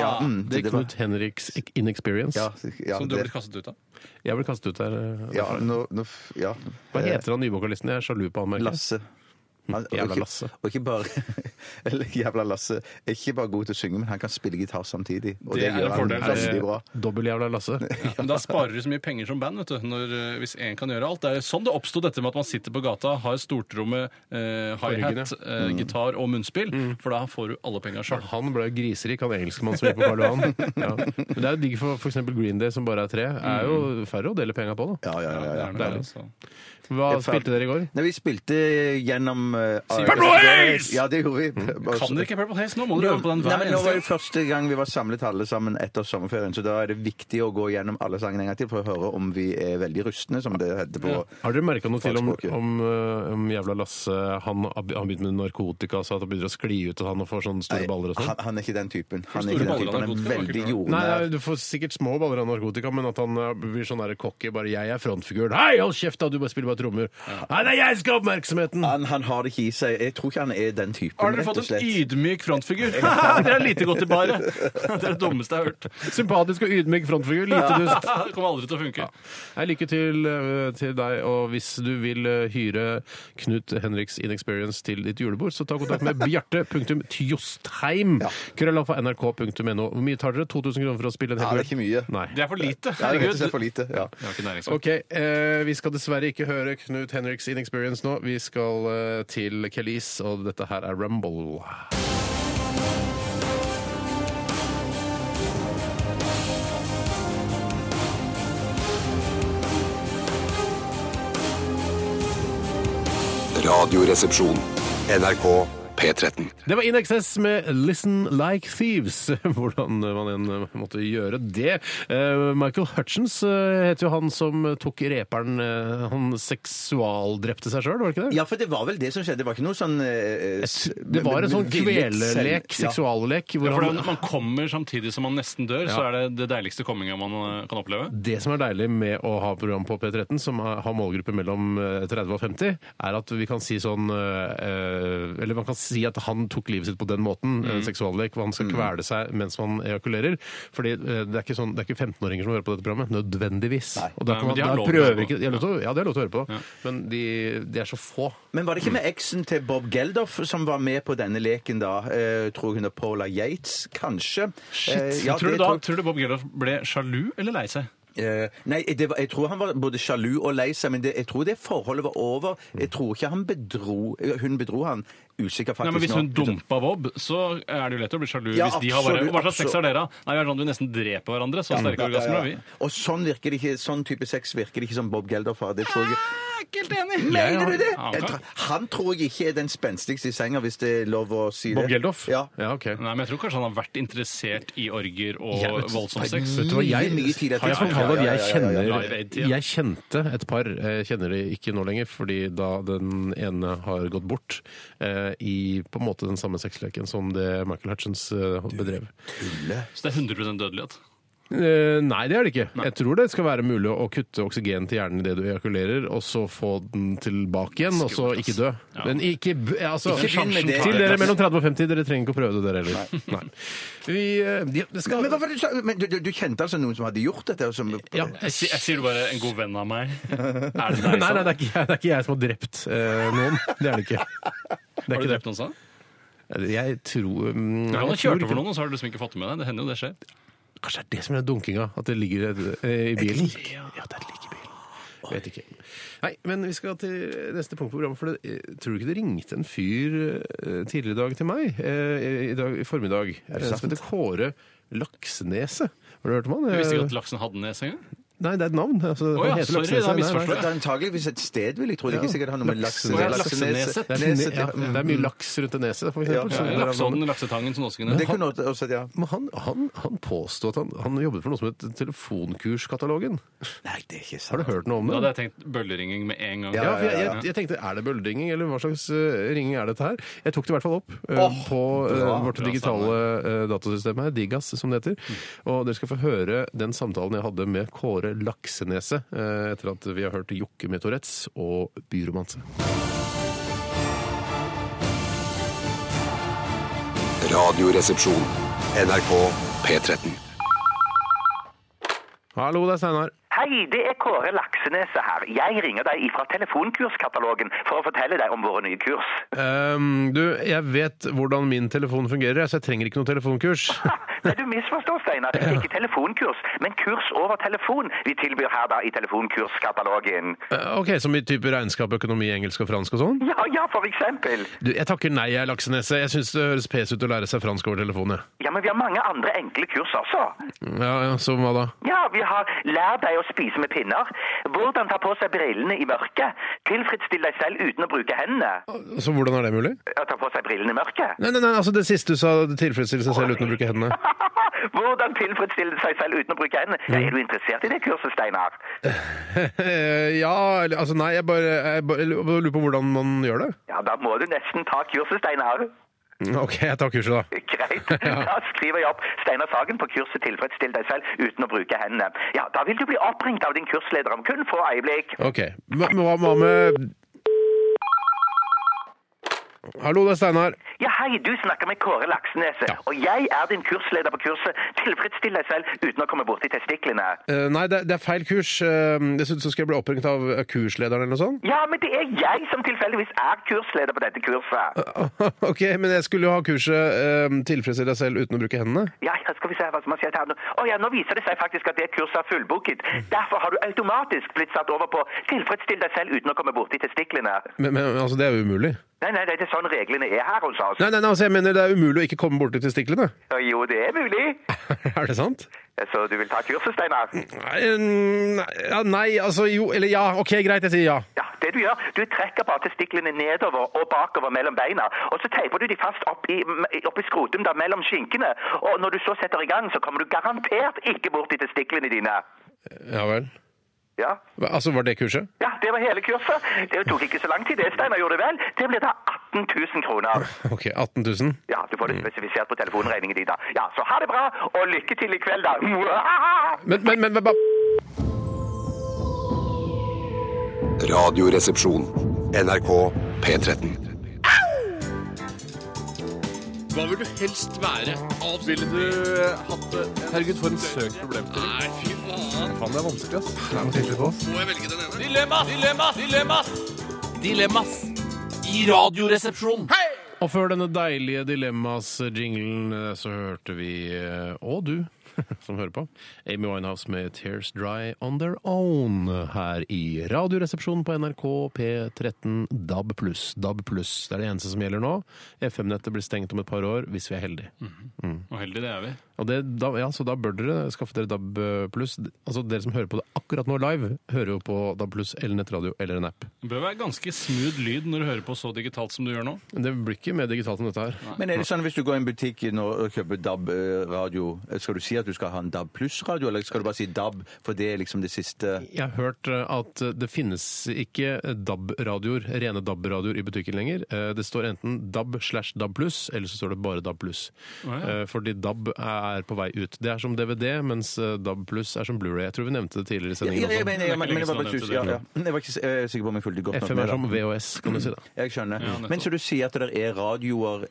Ja, mm,
Det er
var-
Knut Henriks inexperience.
Ja, ja,
Som du har
det,
blitt kastet ut av?
Jeg ble kastet ut der. eh,
ja, nå, nå, f- ja.
Hva heter han nye vokalisten? Jeg er sjalu på han. merker jeg.
Lasse.
Hm,
Han, og
Jævla
ikke-
Lasse.
Og ikke bare eller, Jævla Lasse er ikke bare god til å synge, men han kan spille gitar samtidig. Og det,
Det er en
gjør han
fordel.
veldig bra.
Dobbel-jævla Lasse.
Men da sparer du så mye penger som band, vet du, når, eh, hvis én kan gjøre alt. Det er sånn det oppsto dette med at man sitter på gata, har stortrommet, eh, hi-hat, eh, gitar og munnspill, for da får du alle penga sjøl.
Han ble jo griserik, han engelskmannen som gikk på Karl Johan. Ja. Men det er jo digg for f.eks. Green Day, som bare er tre. Er jo færre å dele penga på, da.
Mm. Ja, ja, ja. ja.
Deilig.
altså.
Hva
Jeg er ferdig.
spilte dere i går?
Nei, vi spilte gjennom eh,
Purple Haze!
Ja, det gjorde vi.
Hm. Kan dere ikke Purple Haze nå? Må dere øve på den
Nei,
hver
men Nå var det
eneste gang.
første gang vi var samlet alle sammen etter sommerferien, så da er det viktig å gå gjennom alle sangene en gang til for å høre om vi er veldig rustne, som det heter på
Har dere merka noe til om,
Fagspråket.
om, eh, om jævla Lasse Han har be- han begynt med narkotika, så at det begynner å skli ut og han får sånne store
Nei,
baller og sånn?
Han, han er ikke den typen. Han er,
store
ikke den
baller
typen.
av
Han er
narkotika,
veldig
ikke sant?
Nei,
jordnær.
nei, du får sikkert små baller av narkotika, men at han eh, blir sånn der cocky bare 'Jeg er frontfiguren'. 'Hei, hold kjeft, da! Du bare spiller bare trommer'. 'Nei, det er jeg som skal ha oppmerksomheten'.
Han, han har det ikke i seg. Jeg tror ikke han er den typen.
Har dere
rett og
fått en
slett.
ydmyk frontfigur? Dere er lite godt i baret. Det er det dummeste jeg har hørt.
Sympatisk og ydmyk frontfigur. Lite dust.
Det kommer aldri til å funke.
Nei, lykke til eh, til deg, og hvis du vil eh, hyre Knut Henriks Inexperience til ditt julebord, så ta kontakt med bjarte.tjostheim. Krøllalfa nrk.no. Hvor mye tar dere? 2000 kroner for å spille en
Ja,
hel
det er ikke mye.
Nei.
Det er for lite.
Ja, det er rett og
Herregud.
slett for lite. Ja.
Det var ikke næringsvei.
Ok, eh, vi skal dessverre ikke høre Knut Henriks Inexperience nå. Vi skal eh, til Kelis, og dette her er Rumble.
Radioresepsjon. NRK P13.
Det var In Excess med 'Listen Like Thieves'. Hvordan man enn måtte gjøre det. Eh, Michael Hutchins eh, heter jo han som tok reperen eh, Han seksualdrepte seg sjøl, var det ikke det?
Ja, for det var vel det som skjedde. Det var ikke noe sånn eh, s-
Det var en sånn
villet selv-
kvelerlek,
Ja.
seksuallek,
Ja,
hvor
for det er
han
når man kommer samtidig som man nesten dør, så er det det deiligste komminga man eh, kan oppleve.
det som er deilig med å ha program på P13, som er- har målgruppe mellom eh, 30 og 50, er at vi kan si sånn eh, Eller man kan si at han tok livet sitt på den måten, mm. seksuallek, hvor han skal kvele seg mens man ejakulerer. Fordi eh, det er ikke, sånn, det er ikke 15-åringer som hører på dette programmet, nødvendigvis. Og da
Nei,
kan
men
man,
de har
da
lov til å
prøver
høre på.
ikke de har lov til å- Ja, de har lov til å høre på, men de, de er så få.
Men var det ikke med eksen til Bob Geldof som var med på denne leken da? Eh, tror hun er Paula Yates, kanskje? Eh, Shit.
tror, du da, tror du Bob Geldof ble sjalu eller lei seg?
Eh, nei, det var, jeg tror han var både sjalu og lei seg, men det, jeg tror det forholdet var over. Jeg tror ikke han bedro eh, Hun bedro han. Usikker faktisk
Nei, men Hvis hun
nå.
dumpa Bob, så er det jo lett å bli sjalu.
liksom. Ja,
hvis de har bare,
absolutt,
Hva slags sex
absolutt.
har dere? da? Nei, vi er sånn at vi nesten dreper hverandre. Så sterke orgasmer har vi.
Og sånn virker det ikke, sånn type sex virker det ikke som Bob Geldof har. Det tror jeg
Ja,
Mener
ja.
du det?
Ja, han
Jeg
kan.
tror, han tror jeg ikke er den spenstigste i senga, hvis det er lov å si det.
Bob Geldof?
Ja.
ja ok.
Nei, men Jeg tror kanskje han har vært interessert i orger og
Jeg vet-
voldsom sex.
Vet du hva jeg,
Mye, mye tid etter.
Har jeg, fortalt at
Ja, ja, ja, ja, ja,
jeg,
ja.
kjenner,
Live Aid-tida.
jeg kjente et par, eh, kjenner det ikke nå lenger, fordi da den ene har gått bort eh, i på en måte den samme sexleken som det Michael Hutchins eh, bedrev.
Så det er 100 dødelighet.
Eh, nei, det er det ikke. Jeg tror det skal være mulig å kutte oksygen til hjernen idet du ejakulerer, og så få den tilbake igjen, og så ikke dø. Men ikke b- altså,
Ikke begynn med det.
Til dere mellom 30 og 50, dere trenger ikke å prøve det der heller. Nei. Vi, eh, de- det skal...
Men, hva var det du, sa? men du, du, du kjente altså noen som hadde gjort dette? og Som,
Ja,
Jeg, si- jeg sier bare 'en god venn av meg'. Er det
Nei,
deg,
nei,
sånn?
det, er ikke jeg, det er ikke jeg som har drept eh, noen. Det er det ikke. Det er
Har du
ikke det.
drept noen sånn?
Jeg tror mm,
Du kan ha
jeg tror
kjørt
ikke-
over noen, og så har du liksom ikke fått det med deg. Det hender jo det skjer.
Kanskje det er det som er dunkinga? At det ligger et, eh, i bilen? Ja, det er et lik i bilen. Jeg Vet ikke. Nei, men vi skal til neste punkt på programmet. For det, eh, tror du ikke det ringte en fyr eh, tidligere i dag til meg? eh, I, dag, i formiddag. eh, Som heter Kåre Lakseneset. Har du hørt om han?
Du visste ikke
Jeg-
at laksen hadde nes engang?
Nei, det er et navn. Altså,
Å ja,
han heter
sorry,
Lakseneset. Nei,
da
nei.
misforstår jeg.
Det er antageligvis et sted, vil jeg tro. Det er ikke sikkert han har noe med laksen
Å ja,
Lakseneset.
Lakseneset.
Det er,
Neset,
ja. det er mye laks rundt det neset, for
Ja,
eksempel. så det
Ja,
er- sånn-
Lakseånden, laksetangen som også kunne
Det kunne også, ja.
Men han, han, han påstod at han, han jobbet for noe som het Telefonkurskatalogen.
Nei, det er ikke sant.
Har du hørt noe om
Da
det?
hadde jeg tenkt bølleringing med en gang.
Ja, for jeg, jeg, jeg tenkte, er det bølleringing, eller hva slags eh, ringing er dette her? Jeg tok det i hvert fall opp eh, på eh, vårt digitale eh, datasystem her, Digas som det heter. Og dere skal få høre den samtalen jeg hadde med Kåre Laksenese eh, etter at vi har hørt Jokke med Tourettes og Byromanse.
Radioresepsjon. NRK P13.
Hallo, det er Steinar.
Hei, det er Kåre Lakseneset her. Jeg ringer deg ifra telefonkurskatalogen for å fortelle deg om våre nye kurs.
Ehm, du, jeg vet hvordan min telefon fungerer, jeg, så jeg trenger ikke noe telefonkurs.
Nei, du misforstår, Steinar. Ikke telefonkurs, men kurs over telefon vi tilbyr her da i telefonkurskatalogen.
Eh, ok, som i type regnskap, økonomi, engelsk og fransk og sånn?
Ja, ja, for eksempel.
Du, jeg takker nei, jeg, Laksenese. Jeg syns det høres pes ut å lære seg fransk over telefonen, jeg.
Ja, men vi har mange andre enkle kurs også.
Ja, ja, så hva da?
Ja, vi har lær deg å spise med pinner, hvordan ta på seg brillene i mørket, tilfredsstill deg selv uten å bruke hendene,
Så hvordan er det mulig?
og ta på seg brillene i mørket.
Nei, nei, nei, altså det siste du sa, tilfredsstille seg selv uten å bruke hendene.
Hvordan tilfredsstille seg selv uten å bruke hendene? Ja, er du interessert i det kurset, Steinar?
Eh, ja, eller altså nei, jeg bare, jeg bare jeg lurer på hvordan man gjør det.
Ja, da må du nesten ta kurset, Steinar.
Ok, jeg tar kurset, da.
Greit. Da skriver jeg opp Steinar Sagen på kurset 'Tilfredsstill deg selv uten å bruke hendene'. Ja, da vil du bli oppringt av din kursleder om kun få øyeblikk.
Ok. Men men hva hva med Hallo, det er Steinar.
Ja, hei, du snakker med Kåre Lakseneset, og jeg er din kursleder på kurset 'Tilfredsstill deg selv uten å komme borti testiklene'.
Eh, nei, det, det er feil kurs. Eh, Dessuten så skal jeg bli oppringt av kurslederen eller noe sånt.
Ja, men det er jeg som tilfeldigvis er kursleder på dette kurset.
ok, men jeg skulle jo ha kurset eh, 'Tilfredsstille deg selv uten å bruke hendene'.
Ja, ja, skal vi se hva som har skjedd her nå. Å ja, nå viser det seg faktisk at det kurset er fullbooket. Derfor har du automatisk blitt satt over på 'Tilfredsstill deg selv uten å komme borti testiklene'.
Men, men altså, det er jo umulig.
Nei, nei, det er sånn reglene er her hos oss.
Nei, nei, nei, altså jeg mener det er umulig å ikke komme borti testiklene.
Jo, det er mulig.
er det sant?
Så du vil ta kurset, Steinar?
Nei, nei, ja, nei, altså jo Eller ja, OK, greit, jeg sier ja.
Ja, det du gjør, du trekker bare testiklene nedover og bakover mellom beina, og så teiper du de fast opp i, opp i skrotum da, mellom skinkene, og når du så setter i gang, så kommer du garantert ikke bort i testiklene dine.
Ja vel.
Ja.
Hva- Altså, var det kurset?
ja, det var hele kurset. Det tok ikke så lang tid, det Steinar gjorde vel. Det ble da 18 000 kroner.
OK, 18 000.
Ja, du får det spesifisert på telefonregningen din da. Ja, så ha det bra, og lykke til i kveld da. Mwah!
Men, men, men, men
Radioresepsjon. NRK P13.
Hva vil du helst være? Ville du eh, hatt det? Herregud, for en søk problemstilling. Nei, fy faen. Faen, det er vanskelig, ass. Det er noe tydelig på oss. Må jeg velge den ene? Dilemmas! Dilemmas! Dilemmas! Dilemmas! I radioresepsjonen. Hei!
Og før denne deilige dilemmas-jinglen eh, så hørte vi, eh, og du som hører på, Amy Winehouse med 'Tears Dry On Their Own' her i Radioresepsjonen på NRK P13 DAB+. DAB+. Det er det eneste som gjelder nå. FM-nettet blir stengt om et par år, hvis vi er heldige.
Og heldig det er vi.
Og det, da, ja, så da bør dere skaffe dere DAB+. Altså dere som hører på det akkurat nå live, hører jo på DAB+, eller nettradio, eller en app.
Det bør være ganske smooth lyd når du hører på så digitalt som du gjør nå.
Men det blir ikke mer digitalt enn dette her.
Men er det sånn hvis du går i en butikk nå og kjøper DAB-radio, skal du si at du skal ha en DAB pluss-radio, eller skal du bare si DAB, for det er liksom det siste
Jeg har hørt eh, at det finnes ikke DAB-radioer, rene DAB-radioer i butikken lenger. Eh, Det står enten DAB slash DAB pluss, eller så står det bare DAB pluss.
ja.
Eh, Fordi DAB er på vei ut. Det er som DVD, mens eh, DAB pluss er som Blu-ray. Jeg tror vi nevnte det tidligere i
Ja,
sendingen
jeg
også.
mener, jeg, men, men jeg, var
Lenge
bare sus-
siden han nevnte
ja, ja. jeg var ikke s- eh, sikker på om jeg fulgte godt nok
FM
med.
er som
da.
VHS, kan du si da.
Jeg skjønner.
nettopp.
men så du sier at det er radioer,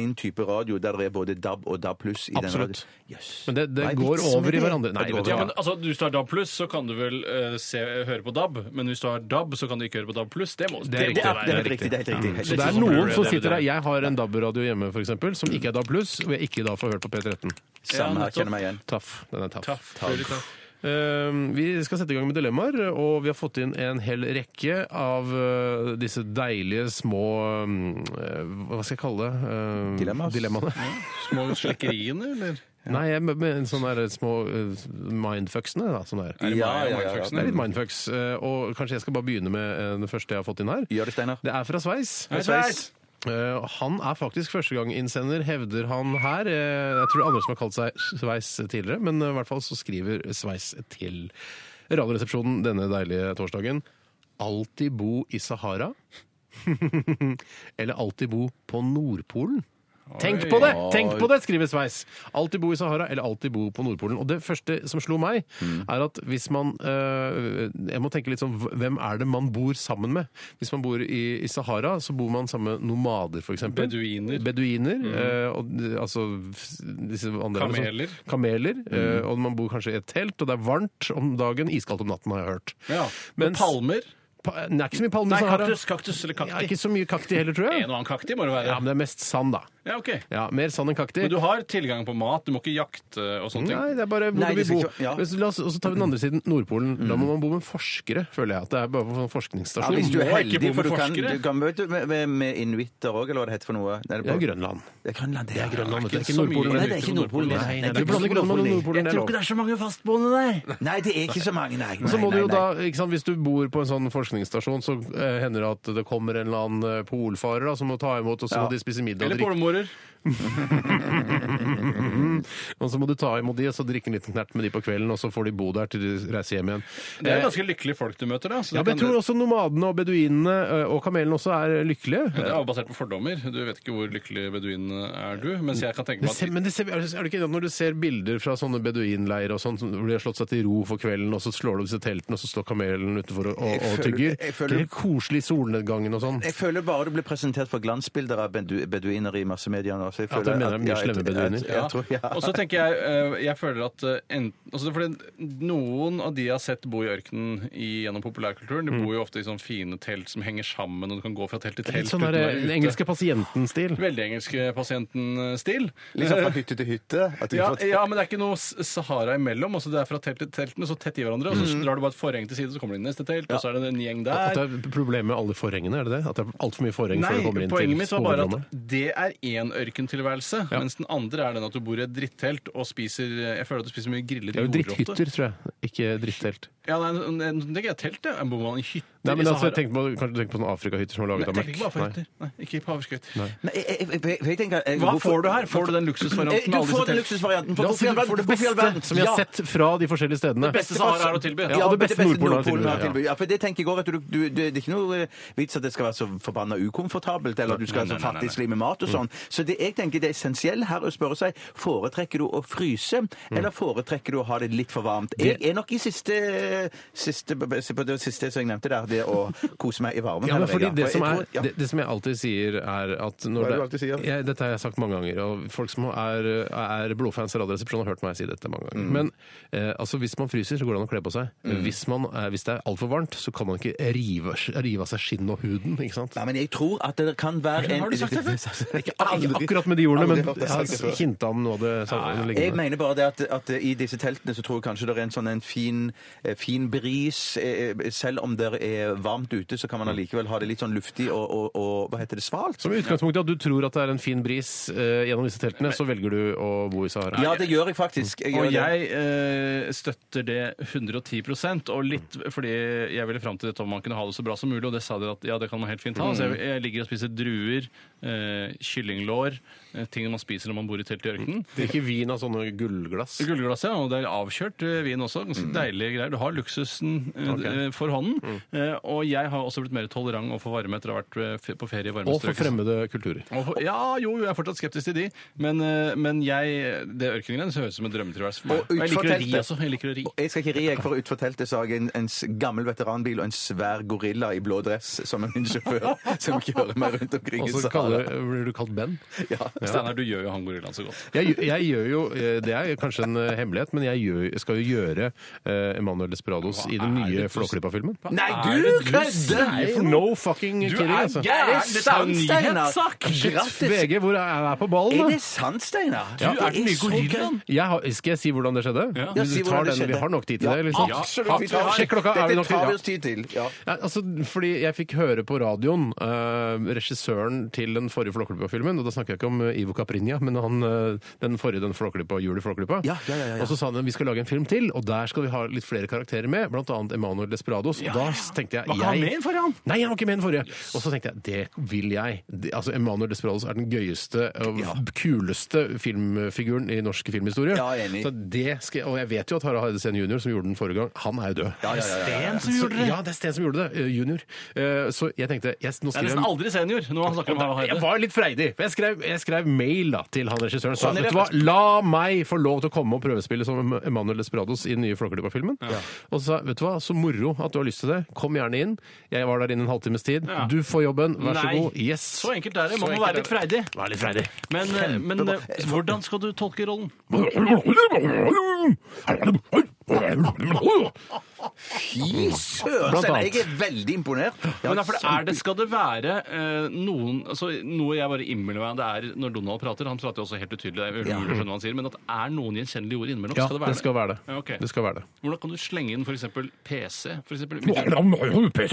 én type radio, der det er både DAB og DAB pluss i den
Absolutt.
radioen? Jøss.
Men det, det
Hva er
går
vitsen med
over i
det?
hverandre. Nei,
det
vet
går
du
Ja,
hva.
men altså, Hvis du har DAB+, så kan du vel eh, se, høre på DAB, men hvis du har DAB, så kan du ikke høre på DAB+. Det, må,
Det er
må
det er,
være- Mm.
det er helt riktig. Det er helt riktig.
Så
Helt
det er
riktig.
noen
Blu-ray,
som
DVD.
sitter der. Jeg har en DAB-radio hjemme, for eksempel, som ikke er DAB pluss, og jeg ikke da får hørt på P13.
Samme her,
nettopp.
kjenner meg igjen.
Taff. Den er taff.
Taff. Veldig taff.
Um, Vi skal sette i gang med dilemmaer, og vi har fått inn en hel rekke av uh, disse deilige små um, uh, Hva skal jeg kalle det? Uh,
Dilemmas.
Dilemmaene.
Små slekkeriene, eller?
Nei, jeg med, med sånne der små eh, mindfucksene. Da, sånne der.
det Ja, ja, ja, ja.
Det er litt mindfucks. eh, og kanskje jeg skal bare begynne med eh, det første jeg har fått inn her.
Gjør det, Steinar.
Det er fra Sveis.
Hei, Sveis.
Eh, han er faktisk førsteganginnsender, hevder han her. Eh, jeg tror det er andre som har kalt seg Sveis tidligere, men eh, i hvert fall så skriver Sveis til Radioresepsjonen denne deilige torsdagen. Alltid bo i Sahara. Mm. Eller alltid bo på Nordpolen. Tenk på det! tenk på det, skriver Sveis. Alltid bo i Sahara eller alltid bo på Nordpolen. Og det første som slo meg,
Mm.
er at hvis man øh, Jeg må tenke litt sånn Hvem er det man bor sammen med? Hvis man bor i, i Sahara, så bor man sammen med nomader, f.eks.
Beduiner. Mm.
Beduiner øh, og, d- altså f- disse andre,
Kameler. Mm.
altså, kameler øh, og man bor kanskje i et telt, og det er varmt om dagen, iskaldt om natten, har jeg hørt.
Ja.
Mens-
Med palmer.
Pa, det er ikke så mye palme
Nei,
i Sahara.
kaktus, kaktus eller
Ja,
kakti.
ikke så mye kakti heller, tror
En
jeg.
og annen kakti må det være.
Ja, men det er mest sand, da.
Ja, ok.
Ja, Mer sand enn kakti.
Men du har tilgang på mat, du må ikke jakte og sånne ting.
Nei, det er bare hvor
Nei, det
du vil
skal
bo.
ikke- ja. Mm.
Men så la oss, og så tar vi den andre siden, Nordpolen. Da må man bo med forskere, føler jeg. At det er bare på en
Ja,
forskningsstasjon.
hvis du er
må ikke bo
heldig, for
med
du kan,
forskere.
du kan vet du, med, med- med inuitter òg, eller hva det heter for noe. Nei,
Det er Grønland.
Det er Grønland, det.
Det er Grønland, vet du. Det er ikke
så mye
Nordpolen.
Nei, det er ikke Nordpolen.
Nei,
Nei,
nei,
det
du
er ikke
blander Grønland og Nordpolen. det er lov.
det er så mange fastboende der. Nei, det er ikke så mange, nei.
Så må
Nei,
du jo
nei,
da,
nei.
ikke sant, Hvis du bor på en sånn forskningsstasjon, så eh, hender det at det kommer en eller annen eh, polfarer da, som må ta imot, og så
Ja.
må de spise middag og
Eller
drikke.
pålemorer.
Og så må du ta imot de, og så drikke en liten knert med de på kvelden, og så får de bo der til de reiser hjem igjen.
Det er ganske lykkelige folk du møter, da. så
Ja,
det
men jeg
kan-
tror også nomadene og beduinene eh, og kamelene også er lykkelige.
Det er jo basert på fordommer. Du vet ikke hvor lykkelig beduinene er, du. Mens jeg kan tenke
Det
meg
ser,
at
men det ser, er det ikke enig at Når du ser bilder fra sånne beduinleirer og sånn, som- hvor de har slått seg til ro for kvelden, og så slår de opp disse teltene, og så står kamelen utenfor og, og, og
Jeg føler-
tygger
jeg føler-
Det er koselig i solnedgangen og sånn.
Jeg føler bare du blir presentert for glansbilder av bedu beduiner i massemedia nå. så jeg
Ja,
føler
du mener det er mye
jeg-
slemme beduiner?
jeg- jeg tror- ja.
Og så tenker jeg eh, Jeg føler at eh, en, altså det er fordi Noen av de jeg har sett bo i ørkenen i, gjennom populærkulturen, de bor jo ofte i sånne fine telt som henger sammen, og du kan gå fra telt til
Mm. Litt
telt
sånn der,
uten å være
den
ute.
engelske pasienten-stil.
Veldig engelske pasienten-stil.
Liksom
sånn
fra hytte til hytte. At de
Ja,
får-
ja, men det er ikke noe s- Sahara imellom. Altså det er fra telt til telt, men så tett i hverandre. Og så
Mm.
drar du bare et forheng til side, så kommer du inn i neste telt, og så er det en gjeng
At
der.
det er problemet med alle forhengene, er det det? At det er altfor mye forheng før du kommer
Nei,
inn
poenget
til
mitt var bare
hovedrommet?
at det er én ørkentilværelse, mens den andre er den at du bor i et drittelt og spiser Jeg føler at du spiser mye griller
Det er
i
jo
gulrot.
dritthytter, tror jeg, ikke drittelt.
Ja, nei, nei, nei, det er ikke et telt, det. Bor man i hytter
Nei, men
i
altså,
Sahara?
jeg tenkte på, kanskje du tenker på sånne Afrikahytter som er
liksom Nei,
laget av
tenk ikke på
mørk? Nei.
havhytter. Nei, ikke på havskøyter.
Nei, jeg- jeg- jeg- jeg tenker- jeg-
Hva
hvorfor-
får du her? Får du den
Eh, Du
luksusvarianten? alle disse
får den
telt-
luksusvarianten. for
La
hvorfor i
oss si du
all verden-
får det
hvorfor i all
beste
verden-
som vi
Ja.
har sett fra de forskjellige stedene.
Det beste Sahara har å tilby.
Ja, det beste Nordpolen har å tilby.
har å
ja.
tilby. Ja, for det tenker jeg også at du, du, det, det er ikke noe eh, vits at det skal være så forbanna ukomfortabelt, eller at du skal være så fattig slim med mat og
Mm.
sånn. Så det jeg tenker det er essensiell her å spørre seg foretrekker du å fryse,
Mm.
eller foretrekker du å ha det litt for varmt. Jeg er nok i siste, siste, se på det siste som jeg nevnte der, det å kose meg i varmen.
Ja, men
her,
fordi
Vegard.
det,
For
som
jeg
er,
tror- ja.
det, det som jeg alltid sier, er at når
Hva er det du
det-
alltid sier?
Jeg, Dette har jeg sagt mange ganger, og folk som er, er blodfans av Radioresepsjonen har hørt meg si dette mange ganger.
Mm.
Men eh, altså, hvis man fryser, så går det an å kle på seg. Hvis, man, er- hvis det er altfor varmt, så kan man ikke rive, rive av seg skinnet og huden, ikke sant?
Nei, men jeg tror at det kan være en
Har du sagt det
Ikke ak- akkurat med de ordene,
Aldri
men
hørt deg
jeg
sagt det
har
før.
hinta om noe av det samme.
Jeg
lignende.
mener bare det at, at i disse teltene så tror jeg kanskje det er en sånn en fin, eh, fin bris. eh, Selv om det er varmt ute, så kan man allikevel ha det litt sånn luftig og, og, og hva heter det, svalt.
Som i utgangspunktet at du tror at det er en fin bris eh, gjennom disse teltene, så velger du å bo i Sahara.
Ja, det gjør jeg faktisk. Jeg
Og
gjør det.
jeg eh, støtter det 110 og litt fordi jeg ville fram til dette om man kunne ha det så bra som mulig, og det sa dere at ja, det kan man helt fint ha.
Mm.
Så jeg, jeg ligger og spiser druer, eh, kyllinglår, eh, ting man spiser når man bor i telt i ørkenen.
Drikke vin av sånne gullglass.
Gullglasset, ja, og det er avkjørt eh, vin også. Ganske deilige greier. Du har luksusen eh,
Ok.
eh, for hånden. Eh, og jeg har også blitt mer tolerant overfor varme etter å ha vært eh, fe- på ferie i varme
Og for
strøk.
fremmede kulturer.
Og for- Ja, jo, jo, jeg er fortsatt skeptisk til de, men, eh, men jeg, det ørkengreiene høres ut som en drømmetilværelse for meg.
Og
Og jeg liker å ri,
utforteltet.
altså. Jeg liker å ri.
Jeg skal ikke ri, jeg, for utfor teltet så har jeg en, en s- gammel veteranbil og en svær gorilla i blå dress som er min sjåfør, som kjører meg rundt omkring.
Og
i
så
Sahara.
Altså, kaller- blir du kalt Ben.
Steinar, du gjør jo han gorillaen så godt.
Jeg, jeg gjør jo, eh, Det er kanskje en eh, hemmelighet, men jeg gjør, skal jo gjøre eh, Emanuel Desperados i den nye Flåklypa-filmen.
Nei, du
du
kødder!
sier for no fucking
Du
kidding,
er
altså.
gæren!
Er det sant, Steinar?
Shit,
Grattis!
VG, hvor er jeg på ballen?
Er
da?
det sant, Steinar?
Ja, er den nye
så
gorillaen?
gøy.
Jeg har, skal jeg si hvordan det skjedde?
Ja.
Hvis
Ja, si
vi, tar
hvordan det
den, vi
skjedde.
har nok tid til det? Liksom.
Absolutt. vi tar-
Sjekk klokka. Er vi
Dette
nok tid?
tar
Ja.
vi oss tid til. Ja.
Ja, altså, fordi jeg fikk høre på radioen eh, regissøren til den forrige Flåklypa-filmen, og da snakker jeg ikke om eh, Ivo Caprinja, men han, eh, den forrige den Flåklypa, Jul i Flåklypa.
Ja, ja, ja, ja.
Og så sa han at vi skal lage en film til, og der skal vi ha litt flere karakterer med, blant annet Emanuel Desperados. Og da tenkte jeg...
Var ikke han
jeg-
med i den forrige, han?
Nei, han var ikke med i den forrige. Og så tenkte jeg, det vil jeg. Det, altså, Emanuel Desperados er den gøyeste og kuleste filmfiguren i norsk filmhistorie.
Ja, enig.
Så det skal jeg... Og jeg vet jo at Harald Heidesen junior, som gjorde den forrige gang, han er jo død.
Ja, ja, ja, ja.
Sten som
Så-
gjorde det.
Ja, det er Sten som gjorde det. eh, Junior. Eh, Så jeg tenkte jeg, nå
Det er
skriver
nesten
jeg
aldri senior når han snakker om Harald
jeg
Heide.
var litt freidig. for Jeg skrev, jeg skrev mail da, til han regissøren. Sa,
Sånn er det.
vet du hva, La meg få lov til å komme og prøvespille som Emanuel Desperados i den nye Flåklypa-filmen. Og så sa jeg, vet du hva, så moro at du har lyst til det. Kom gjerne inn. Jeg var der innen en halvtimes tid.
Ja.
Du får jobben. Vær så
Nei.
god. Yes.
Så enkelt er det. Man
Så
må være
enkelt
litt
er
freidig.
Vær litt freidig.
Men, eh, men eh, hvordan skal du tolke rollen?
Fy søren,
Blant
Steinar,
annet.
jeg er veldig imponert.
Men derfor, er det, skal det være eh, noen altså, Noe jeg bare innbiller meg det er når Donald prater. Han prater jo også helt utydelig, jeg
Ja.
skjønner hva han sier, men at er noen gjenkjennelige ord innimellom?
Ja,
skal det
det
være
skal være det.
Ja, ok.
Det skal være det.
Hvordan kan du slenge inn f.eks. PC? For eksempel,
Det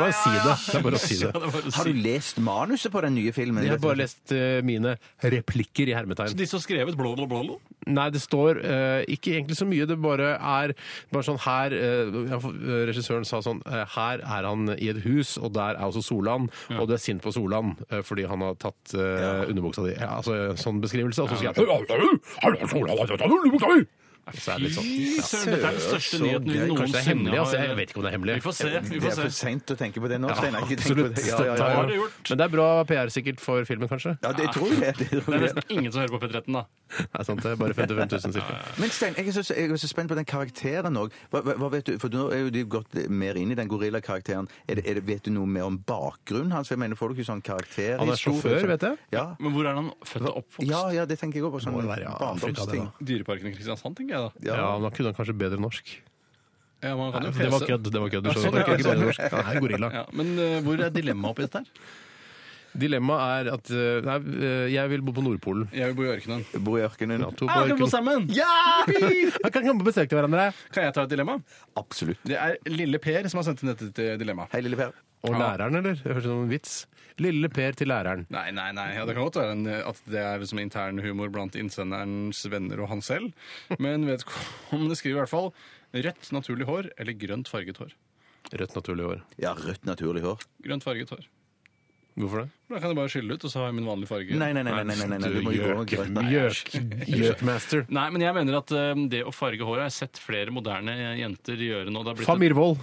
var å si det. Det er bare å si det.
Ja, det er bare å
Har
si.
du lest manuset på den nye filmen?
Jeg har bare lest eh, mine replikker i hermetegn.
De som har skrevet blå, blå, blå, blå?
Nei, det står eh, ikke egentlig så mye. Det bare er bare sånn her eh, ja, for, eh, Regissøren sa sånn eh, Her er han i et hus, og der er også Solan. Og du er sint på Solan eh, fordi han har tatt eh, underbuksa di. Ja, altså, sånn beskrivelse. Og så sier jeg «Her er Solan, han har tatt underbuksa di!» Så er det litt sånn.
Fy søren, dette er den største
så
nyheten vi
gøy.
Kanskje det er hemmelig?
noensinne
Altså, jeg vet ikke om det er hemmelig.
Vi får se. vi
Det er
får
for
se.
seint å tenke på det nå, Steinar. Ikke tenk på
Absolutt.
det. Ja, ja, ja.
har du gjort.
Men det er bra PR sikkert for filmen, kanskje?
ja, det tror jeg. Det tror
Det er
jeg.
nesten ingen som hører på P13, da.
Det er sant, det er bare 55 000 cirka.
Men Stein, jeg er, så, jeg er så spent på den karakteren òg. Hva, hva, hva vet du, for nå er jo du gått mer inn i den gorillakarakteren. Er det, er det, vet du noe mer om bakgrunnen hans? For Jeg mener, Får du ikke sånn karakter?
Han er sjåfør, vet jeg.
Ja.
Men hvor er han født og oppvokst?
ja, ja, det tenker jeg òg på. Sånn
Må det være, ja, Afrika, det
barndomsting.
da.
Dyreparken i Kristiansand, tenker jeg da.
Ja, da kunne han kanskje bedre norsk.
Ja, man kan jo
Det var
fese.
kødd. det var kødd. Du skjønner
sånn,
at
ja,
han ikke
sånn.
bedre norsk. Han er gorilla.
Ja, men eh, hvor er dilemmaet oppi dette her?
Dilemmaet er at eh, nei, eh, jeg vil bo på Nordpolen.
Jeg vil bo i ørkenen.
Bor i ørkenen.
Ja, to
Er vi
på
på sammen?
Da kan vi besøke til hverandre
Kan jeg ta et dilemma?
Absolutt.
Det er lille Per som har sendt inn dette dilemmaet.
Hei, lille Per.
Og læreren, eller? Det høres ut som en vits. Lille Per til læreren.
Nei, nei, nei. Ja, det kan godt være en, eh, at det er liksom intern humor blant innsenderens venner og han selv. Men vedkommende skriver i hvert fall rødt naturlig hår eller grønt farget hår.
Rødt naturlig hår.
Ja, rødt naturlig hår.
Grønt farget hår.
Hvorfor det?
Da kan jeg bare skylle ut, og så har jeg min vanlige farge.
Nei, nei, nei, nei, nei, nei, nei, nei. du må jo gå med grønt. Nei.
Gjøk. Gjøkmaster.
Nei, men jeg mener at eh, det å farge håret har jeg sett flere moderne jenter gjøre nå. Det har blitt et-
Fam Irvold.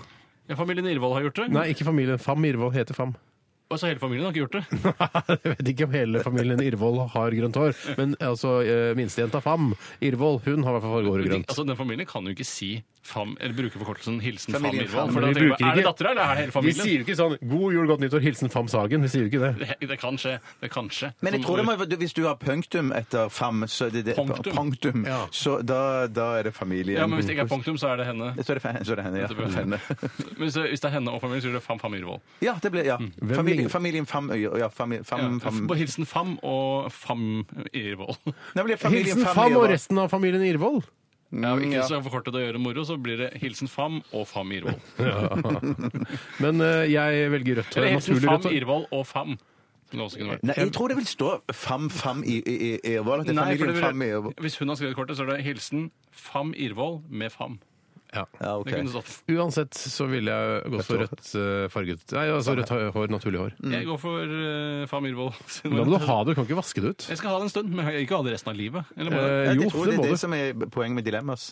Ja, familien Irvold har gjort det.
Nei, ikke familien. Fam Irvold heter Fam.
Og så hele familien har ikke gjort det.
Jeg vet ikke om hele familien Irvold har grønt hår, men altså eh, minstejenta Fam Irvold, hun har i hvert fall fargehåret grønt.
Altså, Den familien kan jo ikke si fam, eller bruke forkortelsen 'hilsen fam
Familien
Irvold'.
Fam.
For da
Vi
tenker
bruker
jeg, er det
ikke-
dattera, eller er det hele
Vi
familien?
sier jo ikke sånn 'god jul, godt nyttår, hilsen Fam Sagen'. Vi sier jo ikke det.
Det, det kan skje. Det kan skje.
Men jeg
Som
tror det
ord.
må, hvis du har punktum etter fam, så er det, det
Punktum.
punktum,
Ja.
så da, da er det familien.
Ja, men Hvis det ikke er punktum, så er det henne.
Så er det, fa- så er det henne, ja.
Dette blir-
Henne.
Men hvis det, hvis det er henne og familien, så er det fam fam Irvold.
Ja, det ble, ja.
ligner-
Familien, familien Fam Øyer. Ja, familien, fam,
Mm. Ja,
fam. Mm,
Bare Mm, hilsen fam og fam Irvold.
Nei, det ble familien
Hilsen Fam og
Øyer.
resten av familien Irvold.
Ja, ikke
ja.
så forkortet å gjøre moro, så blir det hilsen fam og fam Irvold.
Men eh, jeg velger rødt hår.
Eller hilsen
Naturlig
fam
rødt hår.
Irvold og fam. Som det også kunne vært.
Nei, jeg tror det vil stå Fam Fam i, i, i Ervold. At det er
Nei, for
familien
det
Fam i
vil,
Ervold.
hvis hun har skrevet kortet, så er det hilsen fam Irvold med fam.
Ja.
Ja, ok.
Det kunne stått.
Uansett så ville jeg gått for rødt eh, farget Nei, altså rødt hår, naturlig hår.
Jeg går for uh, fam Irvold. sin
Da må Mm. du
variant.
ha det, du kan ikke vaske det ut.
Jeg skal ha det en stund, men jeg vil ikke ha det resten av livet. Eller må
Eh,
jeg?
Ja,
jo,
jeg tror
det
det
må
er det
du.
som er poenget med dilemmas.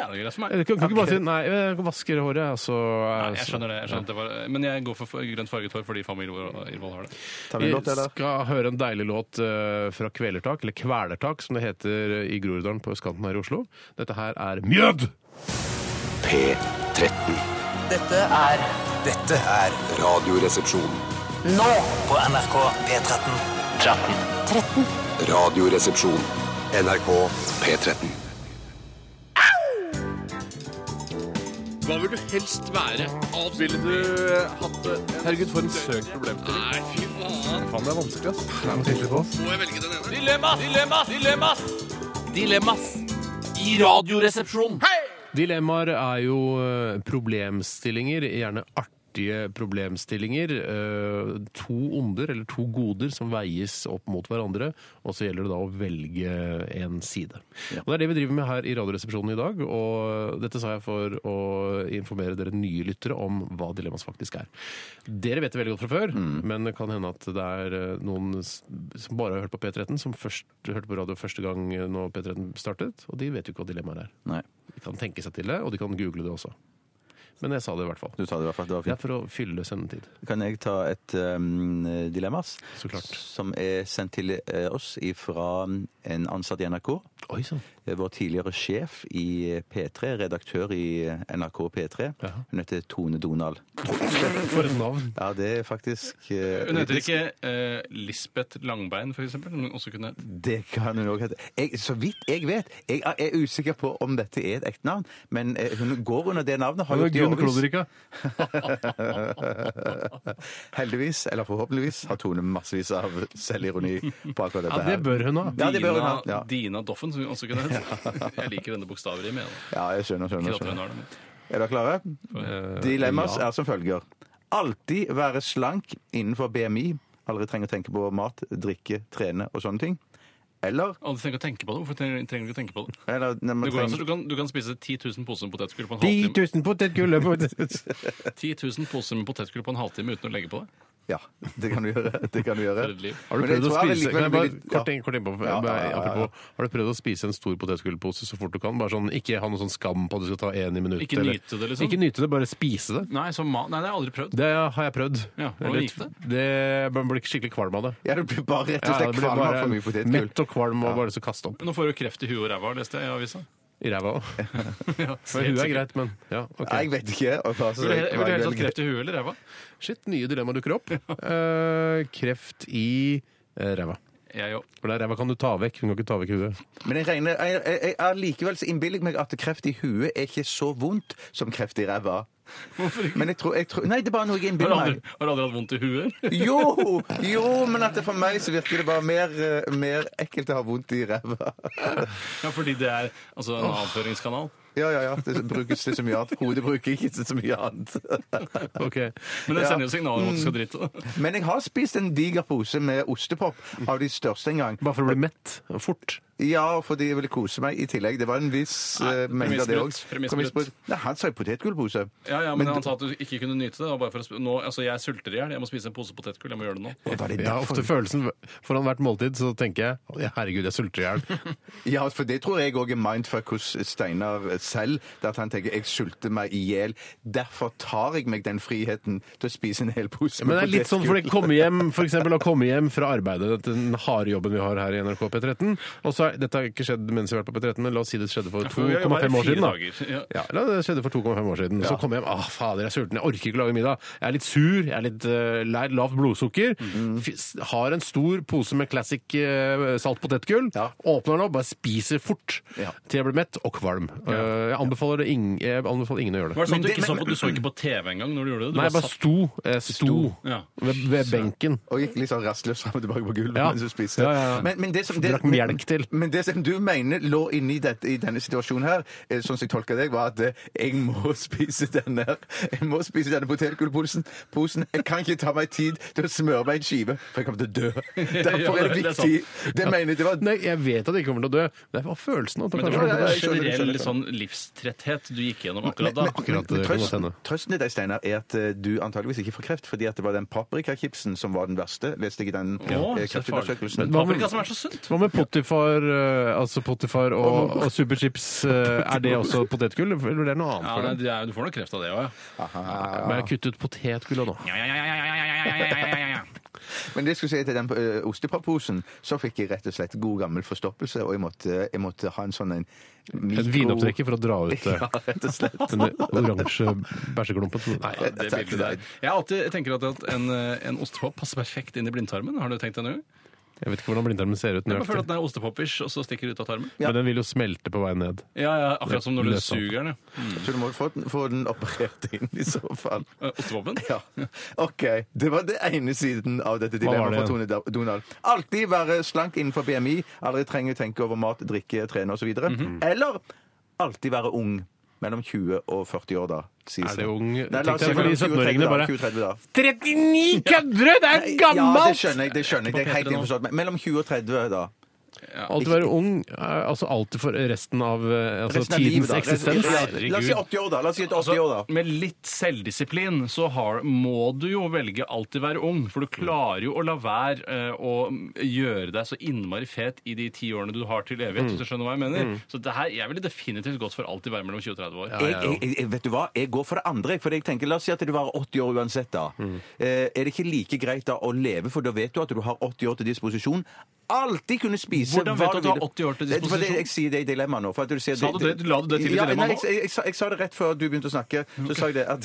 Ja, det er greit
Du
for meg.
eh, kan, kan ikke bare si nei, jeg vasker håret, altså.
Nei, jeg skjønner det. Jeg skjønner at det var, men jeg går for grønt farget hår fordi fam Irvold Irvold har det.
Tar vi en
Vi
låt, eller?
skal høre en deilig låt eh, fra Kvelertak, eller Kvelertak som det heter i Groruddalen på østkanten her i Oslo. Dette her er Mjød!
P13.
Dette er Dette er
Radioresepsjon.
Nå på NRK P13.
Radioresepsjon. NRK P13.
Hva vil du helst være? Ville du hatt det? Herregud, for en søk problemstilling. Nei, fy faen. Faen, det er vanskelig, ass. Må jeg velge den ene? Dilemmas! Dilemmas! Dilemmas! Dilemmas! I radioresepsjonen.
Dilemmaer er jo eh, problemstillinger, gjerne artige problemstillinger. eh, To onder, eller to goder, som veies opp mot hverandre. Og så gjelder det da å velge en side. Og Det er det vi driver med her i Radioresepsjonen i dag. Og dette sa jeg for å informere dere nye lyttere om hva dilemmas faktisk er. Dere vet det veldig godt fra før, men det kan hende at det er eh, noen s- som bare har hørt på P13, som først hørte på radio første gang eh, når P13 startet, og de vet jo ikke hva dilemmaer er.
Nei.
De kan tenke seg til det, og de kan google det også. Men jeg sa det i hvert fall.
Du sa det i hvert fall. Det var
Det
fint.
er for å fylle sendetid.
Kan jeg ta et um, dilemmas?
Så klart.
Som er sendt til eh, oss fra en ansatt i NRK.
Oi sann.
Eh, Vår tidligere sjef i P3, redaktør i eh, NRK P3.
Jaha.
Hun heter Tone Donald.
For et navn.
Ja, det er faktisk eh,
Hun heter ikke eh, Lisbeth Langbein, for eksempel. Hun også kunne hett.
Det kan hun òg hete. Jeg- Så vidt jeg vet. Jeg er- er usikker på om dette er et ekte navn, men eh, hun går under det navnet. Har gjort det i årevis.
Gunn Klodrika.
Heldigvis, eller forhåpentligvis, har Tone massevis av selvironi på akkurat dette
Ja,
her.
det bør hun ha.
Ja, det bør hun ha.
Dina,
Ja,
Dina Doffen, som hun også kunne hett. Jeg liker denne bokstavrimet. jeg, da.
ja jeg skjønner, skjønner.
Ikke at
skjønner.
hun har eh, det, men-
Er dere klare? Dilemmas er som følger. Alltid være slank innenfor BMI. Aldri trenge å tenke på mat, drikke, trene og sånne ting. Eller,
Aldri tenk å tenke på det. Hvorfor trenger trenger du ikke å tenke på det?
eller nei,
Du,
man
går, altså,
trenger,
du, kan, du kan spise 10 000 poser med potetgull på en
10
halvtime
000 potetgull!
10 000 poser med potetgull på en halvtime uten å legge på det.
Ja, det kan du gjøre. Det kan du gjøre.
For et liv.
Har du
Men jeg
prøvd å
tror jeg
spise
likevel
kan jeg
blir
bare,
litt-
kort inn- kort innpå,
Ja, ja, ja, ja.
apropos, Har du prøvd å spise en stor potetgullpose så fort du kan? Bare sånn, Ikke ha noe sånn skam på at du skal ta én i minuttet.
Ikke
eller-
nyte det, liksom.
Ikke nyte det, bare spise det.
Nei, så ma Nei, det har jeg aldri prøvd.
Det har jeg prøvd.
Ja, hvordan
Eller-
gikk det?
det? Man blir skikkelig kvalm av det.
Ja, du blir bare rett og
Ja,
slett
det blir
kvalm av
bare
for mye potetgull.
Mett og kvalm og bare så kaste opp.
Nå får du kreft i huet og ræva, leste jeg i avisa.
I ræva òg. Men
Ja, helt
huet er
sikkert.
greit, men ja, ok.
Nei, Jeg vet ikke. og da så-
Vil du he- vil du helst ha
Hva er det-
kreft i huet eller ræva?
Shit, nye dilemmaer dukker opp. Eh, kreft i eh, ræva.
Jeg òg.
For det er ræva kan du ta vekk. Hun kan ikke ta vekk huet.
Men jeg regner, jeg, jeg, jeg er likevel så innbillig meg at kreft i huet er ikke så vondt som kreft i ræva.
Hvorfor ikke?
Men jeg tror, jeg tror Nei, det er bare noe jeg
Har du
innbiller
aldri,
meg.
har du aldri hatt vondt i huet?
Jo, jo, men at det for meg så virker det bare mer, eh, mer ekkelt å ha vondt i ræva.
Ja, fordi det er altså, en avføringskanal.
Ja, ja, ja. Det brukes til så mye annet. Hodet bruker ikke til så mye annet.
Ok.
Men det
Ja. Mm.
sender jo signaler om at du skal drite. da.
Men jeg har spist en diger pose med ostepop av de største en gang.
Bare for å bli mett fort.
Ja, fordi jeg ville kose meg i tillegg. Det var en viss
Nei,
eh, mengde av det òg.
premissbrudd. Premissbrudd.
Nei, han sa jo potetgullpose.
Ja, ja, men,
Men-
han sa at du ikke kunne nyte det. det var Bare for å sp nå, altså, jeg sulter i hjel. Jeg må spise en pose potetgull. Jeg må gjøre det nå.
Var det
Jeg har
derfor?
ofte følelsen Foran hvert måltid så tenker jeg «Å, herregud, jeg sulter i hjel.
Ja, for det tror jeg òg er mindfuck hos Steinar selv. Det at han tenker 'jeg sulter meg i hjel', derfor tar jeg meg den friheten til å spise en hel pose.
Men det
med
er litt sånn for de kommer hjem for eksempel, å komme hjem fra arbeidet, dette- den harde jobben vi har her i NRK P13 Og så er, Dette har ikke skjedd mens vi har vært på P13, men la oss si det skjedde for
for vi har jo
2,5
bare
år siden. da.
fire dager, ja.
Ja, la det skjedde for 2,5 år siden. Så kom jeg hjem. Ah, fader, jeg er sulten. Jeg orker ikke lage middag. Jeg er litt sur. Jeg er litt eh, lei lavt blodsukker.
Mhm.
Fis- Har en stor pose med classic eh, salt potetgull.
Ja.
Åpner den opp, bare spiser fort
Ja.
til jeg blir mett og kvalm. Eh, jeg, anbefaler det ing jeg anbefaler ingen å gjøre det.
Var det sånn
Men
at du
det-
ikke så
men-
på, du så ikke på TV engang når du gjorde det? Du
Nei, jeg bare sto. Jeg sto,
Ja.
ved, ved benken.
Og gikk litt sånn rastløs fram og tilbake på gulvet
Ja.
mens du spiste.
Ja, ja, ja.
Men, men det som,
Drakk melk til.
Men, det som du mener lå inni dette, i denne situasjonen her, eh, sånn som jeg tolker deg, var at eh, jeg må spise denne her. Jeg må spise denne potetgullposen. Posen. Jeg kan ikke ta meg tid til å smøre meg en skive, for jeg kommer til å dø. Derfor er det
Ja, det er
viktig. Det mener jeg. Det var
Nei, jeg vet at jeg ikke kommer til å dø. Det var følelsen. At det
Men det
kanskje-
var
Ja, ja,
en
jeg skjønner, jeg skjønner.
generell sånn livstretthet du gikk gjennom akkurat da.
Men, men, men,
Akkurat, det kan godt
trøsten,
hende.
trøsten i deg, Steinar, er at eh, du antageligvis ikke får kreft, fordi at det var den paprikakipsen som var den verste, leste jeg i den
Å,
eh,
så farlig.
kreftundersøkelsen.
hva med-
Paprika som er så sunt.
Hva med Potifar, eh, altså Potifar og, og Superchips? eh, Er det også potetgull, eller er det noe annet?
Ja,
for
nei,
det?
du, er, du får nok kreft av det òg, ja.
Men jeg har kuttet ut potetgullet nå.
Ja, ja, ja, ja, ja, ja, ja, ja, ja, ja, ja.
Men det jeg skulle si til den uh, ostepopposen, så fikk jeg rett og slett god gammel forstoppelse, og jeg måtte, jeg måtte ha en sånn en mikro...
Et vinopptrekker for å dra ut eh,
Ja, rett og slett.
den oransje bæsjeklumpen. Nei,
Ja, Det bildet der. Jeg alltid tenker at at en, eh, en ostepop passer perfekt inn i blindtarmen. Har du tenkt det nå?
Jeg vet ikke hvordan blindtarmen ser ut
Jeg bare føler at
nøyaktig.
den er ostepoppers, og så stikker det ut av tarmen.
Men den vil jo smelte på vei ned.
Ja, ja, akkurat som når du
Løs opp.
suger den. ja.
Så du må få den, få den operert inn i så fall.
Eh, Ostepoppen?
Ja. OK. Det var det ene siden av dette
var
dilemmaet
det
fra Tone Da- Donald. Alltid være slank innenfor BMI, aldri trenge å tenke over mat, drikke, trene osv. videre
Mhm.
Eller alltid være ung. Mellom 20 og 40 år, da. sies
Er det ung?
Nei, la oss
Tenkte
si
jeg,
20-30
for de 17-åringene
da,
bare
20-30 da.
39 kødder! Det er
Ja, det
gammelt!
skjønner jeg. det skjønner jeg. Det er helt innforstått. Men mellom 20 og 30, da.
Alltid være ung, eh, altså alltid for resten av eh, altså,
Resten av livet,
tidens
da.
eksistens.
Ja, La oss si 80 år, da. La oss si et 80 år, da.
Altså, med litt selvdisiplin så har, må du jo velge alltid være ung, for du klarer jo å la være eh, å gjøre deg så innmari fet i de ti årene du har til evighet, hvis du skjønner hva jeg
Mm.
mener. Så det her, jeg ville definitivt gått for alltid være mellom 20 og 30 år.
Jeg, jeg, jeg, vet du hva? Jeg går for det andre. jeg, For jeg tenker, La oss si at du var 80 år uansett. da.
Mm.
Eh, er det ikke like greit da å leve, for da vet du at du har 80 år til disposisjon? Alltid kunne spise
Hvordan vet du at du har
vil.
80 år til
Det- for det-
disposisjon?
Jeg sier det i dilemmaet nå. For at du sier
Sa du det? La du det til i
ja,
dilemmaet
nei,
nå?
jeg, jeg, jeg, sa- jeg sa det rett før du begynte å snakke. Så sa jeg det at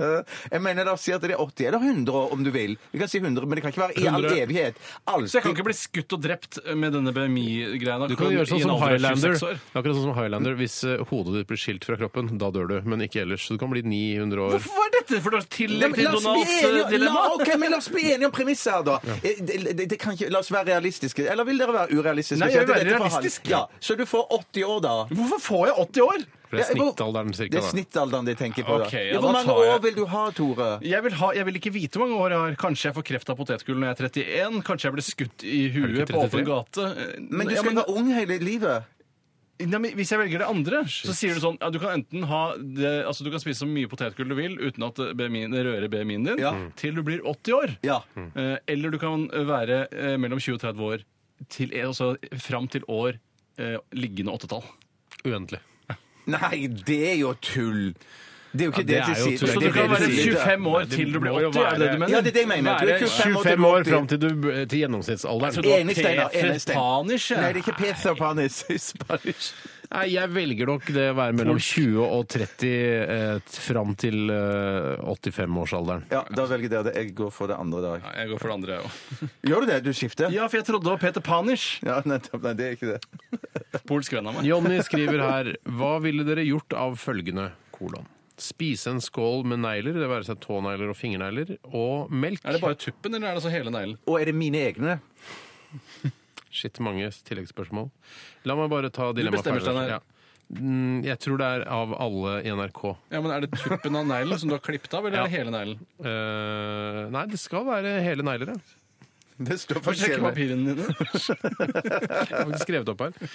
Jeg mener, la oss si at det er 80 eller 100 år, om du vil. Vi kan si 100, men det kan ikke være i all
100.
evighet.
Så jeg kan
Alltid
ikke bli skutt og drept med denne BMI-greia.
Du kan gjøre sånn som Highlander. Det er Akkurat sånn som Highlander. Hvis eh, hodet ditt blir skilt fra kroppen, da dør du. Men ikke ellers. Så du kan bli 900 år.
Hvorfor var dette for noe
Ja,
tillegg
men
til
La oss bli
Donalds eh,
enige-
dilemma?
La- ok, men la oss bli enige om premisset her, da. Eh, Det, det, det kan ikke, la oss være realistiske. Eller vil dere være urealistiske?
Nei,
Så
jeg vil
dette
være
er for halv-
realistisk.
Ja, så du får 80 år, da.
Hvorfor får jeg 80 år?
For
Ja,
det er
hvor-
snittalderen
Det
cirka.
er
da.
snittalderen de tenker på. da.
Ok, ja,
ja, hvor
da
mange
tar jeg-
år vil du ha, Tore?
Jeg vil, ha, jeg vil ikke vite hvor mange år jeg har. Kanskje jeg får kreft av potetgull når jeg er 31. Kanskje jeg blir skutt i huet på åpen gate.
Men du
Ja,
skal jo være ung hele livet.
Nei, men hvis jeg velger det andre, så sier du sånn ja, Du kan enten ha det, altså du kan spise så mye potetgull du vil uten at BMI, det rører BMI-en din,
Ja.
til du blir 80 år.
Ja.
Eh, Eller du kan være eh, mellom 20 og 30 år til, altså, fram til år eh, liggende åttetall.
Uendelig.
Nei, det er jo tull. Det er jo ikke
Ja, det
det
er jo
til
tull.
siden.
Så
Det
du
er
kan
det
være
de sier.
25 år til du blir
må jo
80, er det det du
være-
mener?
Ja, det er det jeg mener. Du er
Være
25 år til Altså,
25 år
80.
fram til, du, til
Jeg
gjennomsnittsalderen.
trodde
Enig,
det
Steinar,
var
enig,
Peter
Steinar.
Panish. jeg.
Nei, det er ikke Peter Panis.
Nei, jeg velger nok det å være mellom 20 og 30 eh, fram til eh, 85-årsalderen.
Ja, da velger dere det. Jeg går for det andre da.
Ja, Jeg går for det andre, jeg òg.
Gjør du det? Du skifter?
Ja, for jeg trodde det var Peter Panish.
Ja, nettopp. Nei, det er ikke det.
Polsk venn av meg.
Jonny skriver her Hva ville dere gjort av følgende kolon? Spise en skål med negler, det være seg tånegler og fingernegler, og melk.
Er det bare tuppen, eller er det så hele neglen?
Og er det mine egne?
Shit, mange tilleggsspørsmål. La meg bare ta dilemmaet
bestemmer, Steinar.
Ja. Mm, Jeg tror det er av alle i NRK.
Ja, men Er det tuppen av neglen som du har klippet av, eller
Ja.
er det hele neglen?
Eh, nei, det skal være hele negler, ja.
Det står
Få sjekke papirene dine.
Jeg har faktisk skrevet opp her.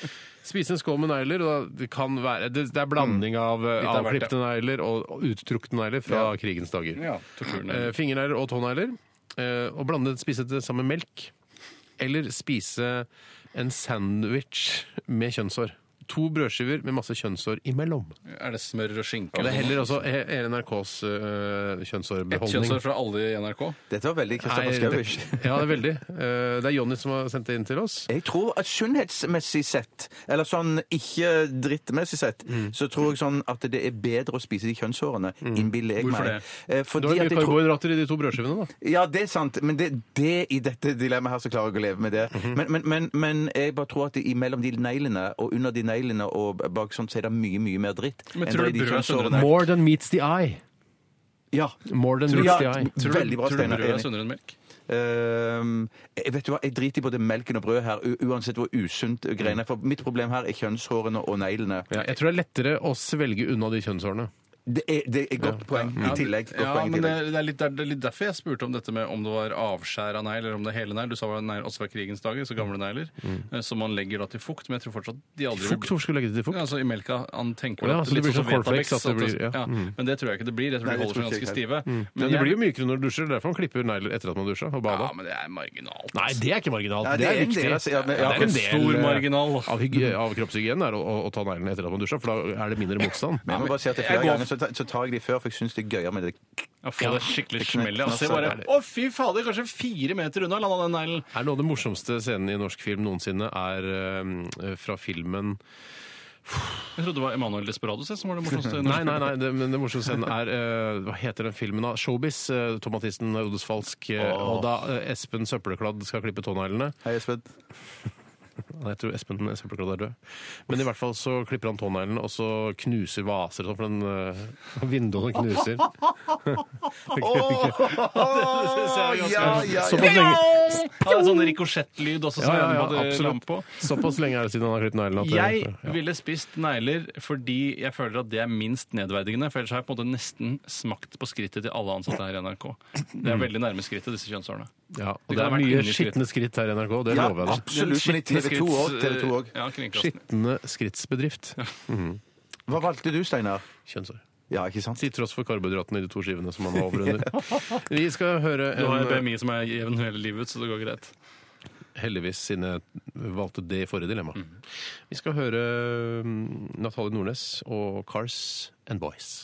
Spise en skål med negler. og da- Det, kan være, det, det er blanding av eh,
Mm. av hvert,
avklippte negler og, og uttrukne negler fra krigens dager.
Ja, torturen.
Eh, fingernegler og tånegler. Eh, og blande spise det sammen med melk. Eller spise en sandwich med kjønnshår. To brødskiver med masse kjønnshår imellom.
Eh,
Er det smør og skinke?
Og det
og
heller
sånn?
altså he- hele NRKs eh,
Et kjønnshår
kjønnshårbeholdning.
fra alle i NRK?
Dette var veldig
Nei,
Kristoffer Schauwisch.
det- Ja, det er veldig. Eh, det er Jonny som har sendt det inn til oss.
Jeg tror at sunnhetsmessig sett, eller sånn ikke drittmessig sett, så tror jeg sånn at det er bedre å spise de kjønnshårene, innbiller jeg
Hvorfor
meg.
det?
Eh,
Du
Fordi
har
at
mye
jeg tror...
karbohydrater i de to brødskivene, da.
Ja, det er sant, men det, det i dette dilemmaet her, så klarer jeg å leve med det. Men, men, men, men jeg bare tror at det, imellom de neglene, og under de neglene, og bak sånn, så er det mye, mye mer dritt.
Men
enn
tror
det er
du
i de
brød er sunnere
kjønnshårene.
More than meets the eye.
Ja.
More than
Tror-
meets
ja,
the eye.
Tror du,
Veldig bra,
tror du
Steinar.
brød er
Enig.
sunnere enn melk?
Ehm, jeg vet du hva, jeg driter i både melken og brød her, u uansett hvor usunt greiene er. For mitt problem her er kjønnshårene og neglene.
Ja, jeg tror det er lettere å svelge unna de kjønnshårene.
Det er, det er et godt poeng i tillegg. Godt
Ja,
poeng i
men det
tillegg.
er, det, er litt, det er litt derfor jeg spurte om dette med om det var avskjær av negl, eller om det er hele negl. Du sa det var negl også fra krigens dager, så gamle negler.
Mm.
eh, Som man legger da til fukt, men jeg tror fortsatt de aldri vil-
Fukt, hvorfor skulle du legge det til
Ja,
fukt?
altså I melka han tenker
Å ja,
at
så det
litt
blir
sånn
sånn cornflakes,
Wetabix,
at det blir-
at-
ja, mm.
Men det tror jeg ikke det blir. Jeg tror
Nei,
de
det
holder seg
tror ikke
ganske
jeg
stive.
Men det blir jo mykere når du dusjer, det er derfor man klipper negler etter at man dusjer og bader.
Ja, men det er marginalt.
Nei, det er ikke marginalt.
Nei, det er en del av- ja, men- ja,
det er en
det
del
er stor
eh,
marginal.
av, hygge, av kroppshygienen er å, å, å ta neglene etter at man dusjer, for da er det mindre motstand.
Men jeg må bare si at det er
jeg
flere
går-
ganger så tar, så tar jeg de før, for jeg syns det er gøyere med det.
Ja, få det skikkelig
knekk
smellet. Og se
altså.
masse,
bare
det
Å, fy fader! Kanskje fire meter unna landa den neglen.
Er noe av det morsomste scenen i norsk film noensinne er eh, fra filmen
Jeg trodde det var Emanuel Desperados jeg, som var det morsomste.
Nei, nei, nei, det, men det morsomste scenen er eh, Hva heter den filmen da? Showbiz. Uh, Tomatisten Odes Falsk. eh, Og da eh, Espen Søppelkladd skal klippe tåneglene.
Hei, Espen.
Nei, jeg tror Espen Søppelkladd er død. Men i hvert fall så klipper han tåneglene, og så knuser vaser og sånn, for den eh, vinduene knuser.
Det synes jeg er ganske-
Ja, ja, ja.
Såpass lenge,
Ja, det er sånn rikosjettlyd også som
ja, ja,
jeg
ja,
hadde lamp på.
absolutt. Såpass lenge er det siden han har klippet neglene. at det-
Jeg
ja.
ville spist negler fordi jeg føler at det er minst nedverdigende. For ellers har jeg på en måte nesten smakt på skrittet til alle ansatte her i NRK. Det
Mm.
er veldig nærme skrittet, disse kjønnsårene.
Ja, og det,
Det kan
er
ha vært
mye
under skritt.
skitne skritt her i NRK, det
Ja,
lover jeg deg.
absolutt. Men i
Den
TV 2
skritts-
òg. TV 2 også.
Ja, kringkasten.
Skitne skrittsbedrift.
Hva valgte du, Steinar?
Kjønnsår.
Ja, ikke sant?
Til tross for karbohydratene i de to skivene som man var over under. Vi skal høre
Du
eh,
har eh,
en, eh,
BMI som er jevn hele livet ut, så det går greit.
Heldigvis, siden jeg valgte det i forrige dilemma.
Mhm.
Vi skal høre mm, Natalie Nordnes og Cars and Boys.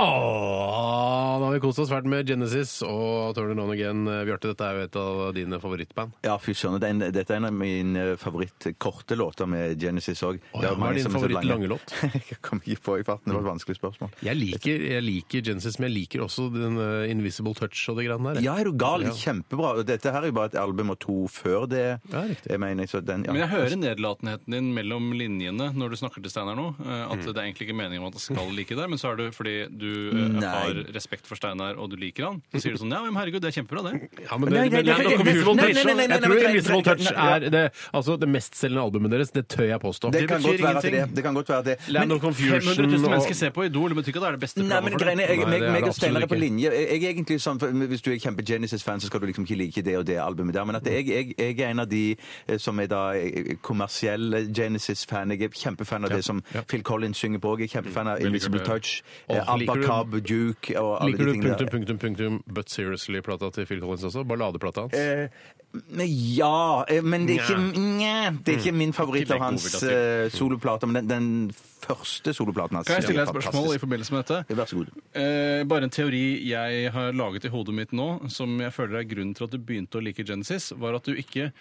Åh, nå har vi kost oss svært med Genesis og Turn It On Again.
Eh,
Bjarte, dette er jo et av dine favorittband.
Ja, fy søren. det er en- Dette er en av mine eh, favorittkorte låter med Genesis òg.
Å ja, hva er din favorittlange låt?
Jeg kom ikke på i farten. Det var et vanskelig spørsmål.
Jeg liker, jeg liker Genesis, men jeg liker også den eh, Invisible Touch og det greiene der.
Ja, er du gal?
Ja.
Kjempebra. Og Dette her er jo bare et album og to før det.
Ja, riktig.
Jeg mener, så den, ja.
Men jeg hører nedlatenheten din mellom linjene når du snakker til Steinar nå. eh, At det er egentlig ikke meningen om at han skal like deg, men så er det fordi du eh,
Nei.
har respekt for Steinar og du liker han. Så sier du sånn ja, men herregud, det er kjempebra, det.
Ja, men
Nei,
det,
nei, nei,
men det er nok
nei,
Invisible
nei, nei,
Touch.
nei, nei, nei,
Jeg tror
nei,
Invisible
nei, nei,
Touch
nei,
er det, altså det mestselgende albumet deres. Det tør jeg påstå.
det, kan godt være at det, det kan godt være det.
Land of Confusion
500 000
og-
mennesker ser på Idol, det betyr ikke at det er det beste
Nei, men
programmet for
greiene, jeg,
Nei,
meg,
det er
meg
det
og Steinar er
absolutt
på
ikke.
linje. Jeg, jeg er egentlig sånn, for Hvis du er kjempe-Genesis-fan, så skal du liksom ikke like det og det albumet der. Men at jeg, jeg, jeg er en av de eh, som er da eh, kommersiell Genesis-fan. Jeg er kjempefan av det som Phil Collins synger på. Jeg er kjempefan av Invisible Touch, eh,
Og liker
Abba
du-
Cab, Duke og alle
Liker
de
du
tingene
punktum, punktum, punktum But Seriously-plata til Phil Collins også? Balladeplata hans?
Eh, Men Ja, eh, men det er ikke, nja, det er ikke
Mm.
min favoritt av
Ikke
hans
Lake Overdativ.
eh, soloplater. Men den, den første soloplaten hans
Kan jeg stille
er
deg et spørsmål i
fantastisk.
forbindelse med dette?
Vær så god.
Eh, bare en teori jeg har laget i hodet mitt nå, som jeg føler er grunnen til at du begynte å like Genesis, var at du ikke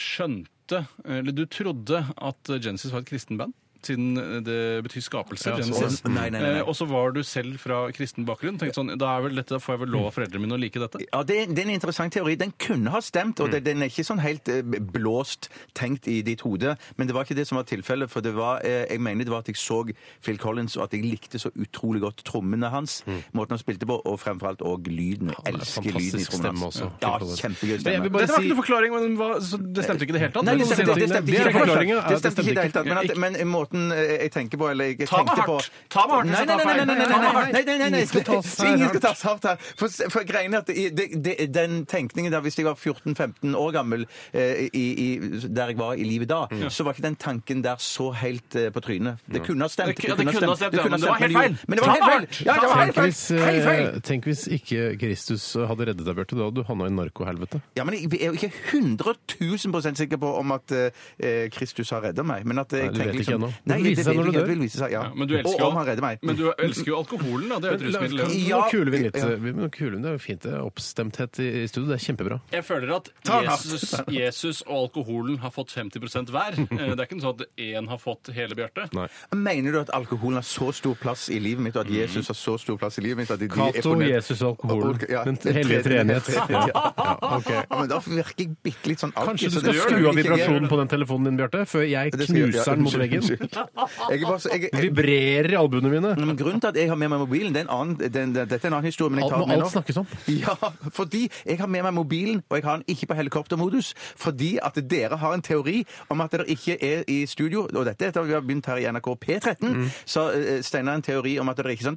skjønte Eller du trodde at Genesis var et kristenband. Siden det betyr skapelse.
Ja,
Genesis.
sånn. Nei, nei, nei, nei.
Eh, Og så var du selv fra kristen bakgrunn. tenkte sånn, da, er vel dette, da får jeg vel lov av foreldrene mine å like dette.
Ja, det, det er en interessant teori. Den kunne ha stemt,
Mm.
og det, den er ikke sånn helt eh, blåst tenkt i ditt hode. Men det var ikke det som var tilfellet, for det var, eh, jeg mener det var at jeg så Phil Collins, og at jeg likte så utrolig godt trommene hans, måten han spilte på, og fremfor alt òg lyden. Jeg
Mm. er
elsker lyden i
fantastisk
trommene
stemme
hans.
også,
Ja,
Phil Collins.
kjempegøy
Men jeg
stemme.
vil bare
dette var ikke
si-
noe forklaring, men den var, så det stemte ikke i det hele tatt.
Nei, det
Men
stemte, det stemte ikke
Det er
stemte-
i det hele tatt.
forklaringen, er at
Det
det
stemte ikke i det
stemte
hele tatt. Men, at,
ikke.
men måten eh, jeg tenker på, eller jeg
Ta meg
tenkte på
hardt. Ta meg hardt hvis
Nei,
jeg
nei,
tar
nei, nei, nei, nei,
feil.
nei,
Ta meg
nei, nei,
hardt.
nei, nei, nei.
Ingen skal tas hardt.
Ingen skal tas hardt her. For, for greiene er at i- det, det, den tenkningen der, hvis jeg var 14-15 år gammel eh, i, i, der jeg var i livet da, så var ikke den tanken der så helt eh, på trynet. Det kunne ha stemt.
Det ku- ja, det kunne ha stemt, ja, men det var helt
gjorde-
feil.
Men det var
Ta
helt
meg
feil.
hardt.
Ja, det var helt
Tenk
feil.
hvis,
Helt feil.
eh, tenk hvis ikke Kristus hadde reddet deg, Bjarte. Da hadde du havna i narkohelvete.
Ja, men jeg er jo ikke 100 000 sikker på om at eh, Kristus har redda meg. Men at eh,
Nei,
jeg
du vet
tenker
ikke
liksom
ennå. Det
Nei,
vil vise
det
seg
vil
når du
ikke, det
dør.
vil vise seg, ja.
Ja, men du elsker,
og
jo-
om han redder meg.
men du elsker jo alkoholen, da. Det er jo et rusmiddel.
Kan- Nå
ja.
Ja.
kuler vi litt. eh,
Ja.
Vi må kule, det er jo fint. det er Oppstemthet i i studio, det er kjempebra.
Jeg føler at
Ta den hardt.
Jesus, Jesus og alkoholen har fått 50 hver. Eh, Det er ikke sånn at én har fått hele Bjarte.
Nei.
Mener du at alkoholen har så stor plass i livet mitt, og at Jesus har så stor plass i livet mitt at de, de er
Mm. Cato,
på nett-
Jesus og alkoholen.
Ja,
Den hellige treenighet.
Ja.
Ja, ok.
Ja, men da virker jeg bitte litt sånn
Kanskje
alkis,
du
så
skal
det-
skru av
Ikke jeg-
vibrasjonen på den telefonen din, Bjarte, før jeg
Det skal jeg- ja,
knuser den mot
unnskyld,
veggen.
unnskyld. Jeg er bare så- jeg- jeg-
Vibrerer i albuene mine.
Men grunnen til at jeg har med meg mobilen, det er en annen, det, det, dette er en annen historie. Men jeg
Alt
tar den
må
med
alt
nå.
snakkes om.
Ja, fordi jeg har med meg mobilen, og jeg har den ikke på helikoptermodus. Fordi at dere har en teori om at dere ikke er i studio, og dette er etter at vi har begynt her i NRK P13,
Mm.
så eh, Steinar har en teori om at dere ikke sånn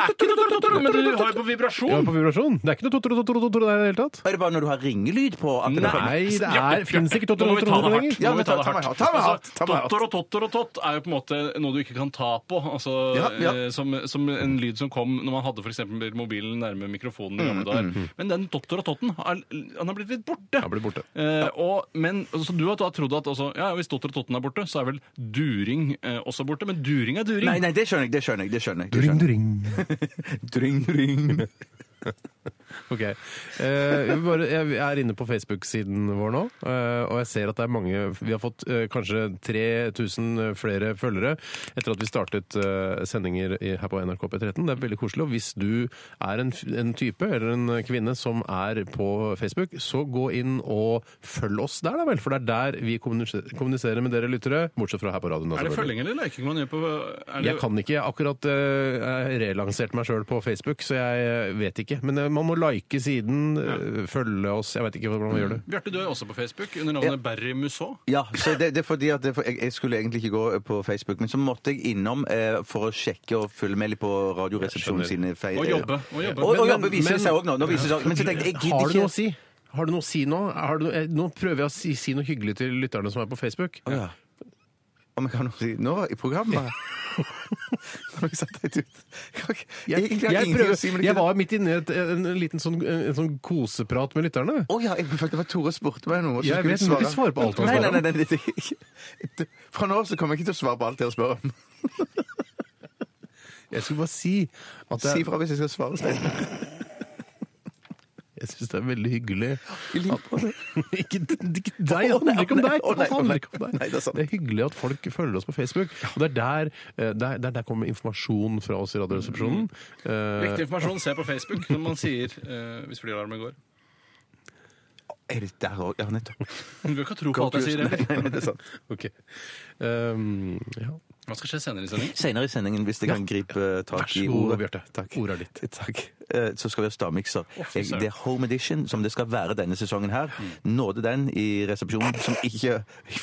Men du har
Er
jo på
Ja,
vibrasjon!
på vibrasjon. Det er ikke noe totoro-totoro der i det hele tatt.
det bare når du har ringelyd på? At det- sånn?
Nei, det er, finnes ikke
Nå må vi ta det
totoro-totoro
hardt. Altså,
lenger.
Ja, men ta- ta meg hardt, ta meg hardt, ta meg hardt.
Totter og totter og tott. Rått er jo på en måte noe du ikke kan ta på. Altså,
Ja, ja.
eh, Som, som en lyd som kom når man hadde for eksempel mobilen nærme mikrofonen. i gamle dager. Men den dotter og totten er, han har blitt litt borte.
blir borte.
Eh, og, men altså, Du har da trodd at også, ja, hvis dotter og totten er borte, så er vel during eh, også borte. Men during er during.
Nei, nei, det skjønner jeg. det skjønner jeg, det skjønner jeg. Det skjønner jeg. Dring, dring.
Ok. Eh, vi bare, jeg er inne på Facebook-siden vår nå, eh, og jeg ser at det er mange Vi har fått eh, kanskje 3000 flere følgere etter at vi startet eh, sendinger i, her på NRK P13. Det er veldig koselig. Og hvis du er en, f- en type eller en kvinne som er på Facebook, så gå inn og følg oss der, da vel. For det er der vi kommuniserer, kommuniserer med dere lyttere, bortsett fra her på radioen. da,
Er det
selvfølgelig.
følging eller leking man gjør på er det,
Jeg kan ikke. Jeg har akkurat uh, relansert meg sjøl på Facebook, så jeg eh, vet ikke. Men eh, man må like siden, eh, følge oss. Jeg vet ikke hvordan man gjør det.
Bjarte, du er også på Facebook under navnet Barry Musaa.
Ja, så det, det er fordi at det, for jeg, jeg skulle egentlig ikke gå eh, på Facebook, men så måtte jeg innom eh, for å sjekke og følge med litt på Radioresepsjonen sine feil.
Og jobbe, og jobbe.
Og, og
Men-
jobbe viser det seg
men-
òg nå. nå viser det seg, men så tenkte jeg, jeg
Har
gidder
du noe å
ikke.
si? Har du noe å si nå? Har du noe, eh, nå prøver jeg å si, si noe hyggelig til lytterne som er på Facebook.
Å ja. Om jeg kan ha noe å si nå i programmet? Har jeg satt deg ut? Jeg har ikke-
Jeg,
egentlig
jeg,
har jeg ingenting å si, men
prøver,
ikke
jeg var midt inne i et, en, en liten sånn, en sånn koseprat med lytterne.
Å ja, jeg følte det var Tore spurte meg noe. og så
Jeg
skulle
vet, men du svarer på alt han
Nei,
spør om.
Nei, nei, nei, det- det- det- Fra nå av så kommer jeg ikke til å svare på alt jeg spør om.
Jeg skulle bare si at
Si
jeg,
fra hvis jeg skal svare. Stein.
jeg syns det er veldig hyggelig
I like måte.
ikke, ikke deg, det handler ikke om
Å, nei,
deg! Det
å, nei,
handler ikke
å,
om
nei.
deg.
Nei, det er sant.
Det er hyggelig at folk følger oss på Facebook. Og det er der, eh, der, der, der kommer informasjon fra oss i Radioresepsjonen. Eh,
Mm.
Viktig informasjon, se på Facebook, som man sier eh, hvis flyalarmen går.
Er det der òg? Ja, nettopp.
Du bør ikke tro på alt jeg sier. heller.
Nei, nei, det er sant.
ok. Um, ja.
Hva skal skje senere i sendingen?
Senere i sendingen, hvis jeg kan gripe eh,
Vær
tak
så
i
god,
ordet.
Bjarte. Ordet er ditt.
Takk. Eh, Så skal vi ha stavmikser. Jeg- Det er Home Edition som det skal være denne sesongen her.
Mm.
Nåde den i resepsjonen som ikke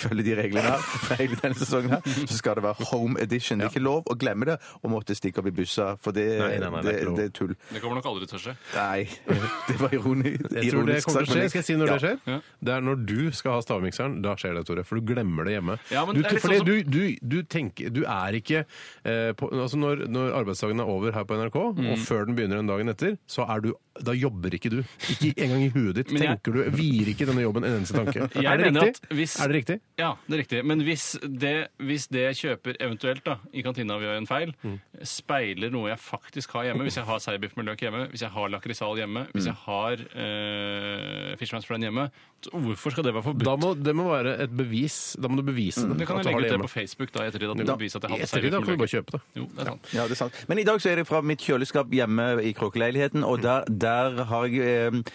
følger de reglene her. for hele denne sesongen her, Så skal det være Home Edition. Det er ikke lov å glemme det og måtte stikke opp i bussa, for det,
Nei, nei, nei, det er
det,
ikke lov.
det er tull.
Det kommer nok aldri til å skje.
Nei, det var ironi.
Jeg tror det
ironisk sagt,
kommer til å skje.
men-
Skal jeg si når
Ja.
det skjer?
Ja.
Det er når du skal ha stavmikseren. Da skjer det, Tore. For du glemmer det hjemme.
Ja, men
du,
det er litt
fordi
sånn
du, du, du tenker Du er ikke eh, på, Altså når, når arbeidsdagen er over her på NRK,
Mm.
og før den begynner den dagen etter, så er du Da jobber ikke du. Ikke engang i huet ditt
Men jeg-
tenker du Vier ikke denne jobben en eneste tanke.
Jeg
er, det
mener
riktig?
at hvis-
er det riktig?
Ja, det er riktig. Men hvis det, hvis det jeg kjøper eventuelt da, i kantina ved en feil,
Mm.
speiler noe jeg faktisk har hjemme, hvis jeg har seibiff med løk hjemme, hvis jeg har lakrisal hjemme,
Mm.
hvis jeg har eh, fishman's friend hjemme, så hvorfor skal det være forbudt?
Da må, det må være et bevis. Da må du bevise det.
Mm, det kan
at
jeg
du har
legge ut det
hjemme.
på Facebook da, etter at jeg
Da-
beviser at
i
jeg hadde
ettertid,
seibiff
da kan
med
du bare
løk.
kjøpe det.
Jo, det er sant.
Ja, det er sant. Men i dag så er det fra mitt kjøleskap hjemme i kråkeleiligheten, og der, der har jeg eh,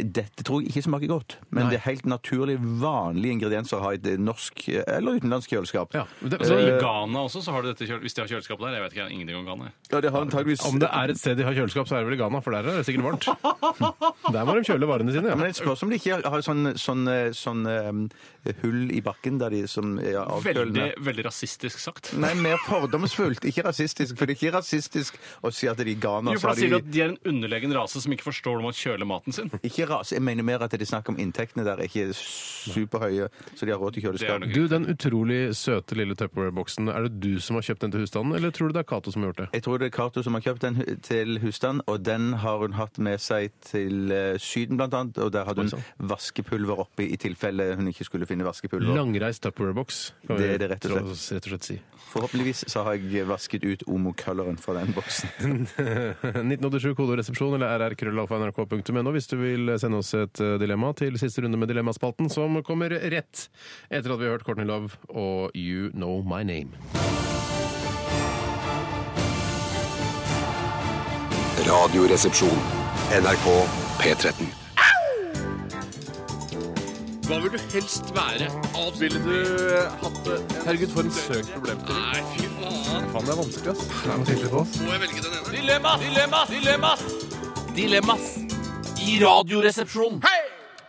dette tror jeg ikke smaker godt, men det er helt naturlig vanlige ingredienser å ha i et norsk eh, eller utenlandsk kjøleskap.
Ja, men det,
Så
altså,
I Ghana også, så har de dette, kjøle- hvis de har kjøleskap der. Jeg vet ikke, jeg har ingenting om Ghana. jeg.
Ja, det har antageligvis...
om det er et sted de har kjøleskap, så er det vel i Ghana, for der er det sikkert varmt. Der må de kjøle varene sine.
Men
Ja.
det spørs om de ikke har sånn, sånn, eh, sånn eh, hull i bakken der de som er
Veldig,
avkølende.
veldig rasistisk sagt.
Nei, mer fordomsfullt, ikke rasistisk, for det er ikke rasistisk å si at de er Ghana,
Jo,
så
for
Altså,
da
har de...
sier du at de er en underlegen rase som ikke forstår hvordan man kjøler maten sin.
Ikke ras, jeg mener mer at det er snakk om inntektene der er ikke superhøye, så de har råd til kjøleskap.
Det er
Du, den utrolig søte lille Tupperware-boksen, er det du som har kjøpt den til husstanden, eller tror du det er Cato som har gjort det?
Jeg tror det er Cato som har kjøpt den hu- til husstand, og den har hun hatt med seg til eh, Syden blant annet, og der hadde
Oi,
hun
sann.
vaskepulver oppi i tilfelle hun ikke skulle finne vaskepulver.
Langreist Tupperware-boks, kan
Det
vi
er det rett og
tro-
slett.
oss rett og slett si.
Forhåpentligvis så har jeg vasket ut omocoleren fra den boksen.
1987 kodoresepsjon eller rrkrøllalfa.nrk.no hvis du vil sende oss et eh, dilemma til siste runde med Dilemmaspalten, som kommer rett etter at vi har hørt Courtney Love og You Know My Name.
Radioresepsjon. NRK P13.
Hva vil du helst være? Ville du hatt det? Herregud, for en søkt problemstilling. Nei, fy faen. Faen, det er vanskelig, ass. Det er vanskelig på oss. Må jeg velge den ene? Dilemmas! Dilemmas! Dilemmas! Dilemmas! I radioresepsjonen.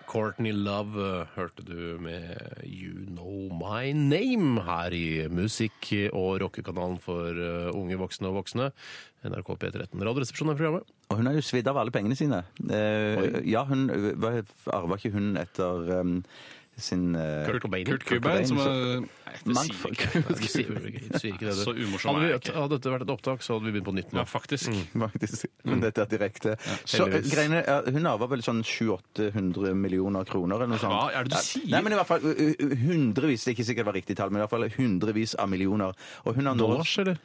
Courtney Love eh, hørte du med You Know My Name her i musikk- og rockekanalen for eh, unge voksne og voksne. NRK P13. Radioresepsjonen er programmet.
Og hun har jo svidd av alle pengene sine. Eh, ja, hun arva ikke hun etter um, sin eh,
Kurt Cobain.
Kurt Cobain, som er Nei, det
Mangt
sier
folk.
jeg ikke.
Du sier vel ikke- du sier ikke det, du.
Så umorsom
hadde,
er
vi,
jeg ikke.
hadde dette vært et opptak, så hadde vi begynt på nytt nå.
Ja, faktisk.
Mm. Faktisk.
Mm.
Men dette er direkte. så eh,
heldigvis.
greiene, er- Hun arva vel sånn 700-800 millioner kroner eller noe sånt.
Hva er det du sier?
Nei, men i hvert fall uh, uh, hundrevis, det er ikke sikkert det var riktig tall, men i hvert fall hundrevis av millioner. Og hun har nå
Dollars, eller?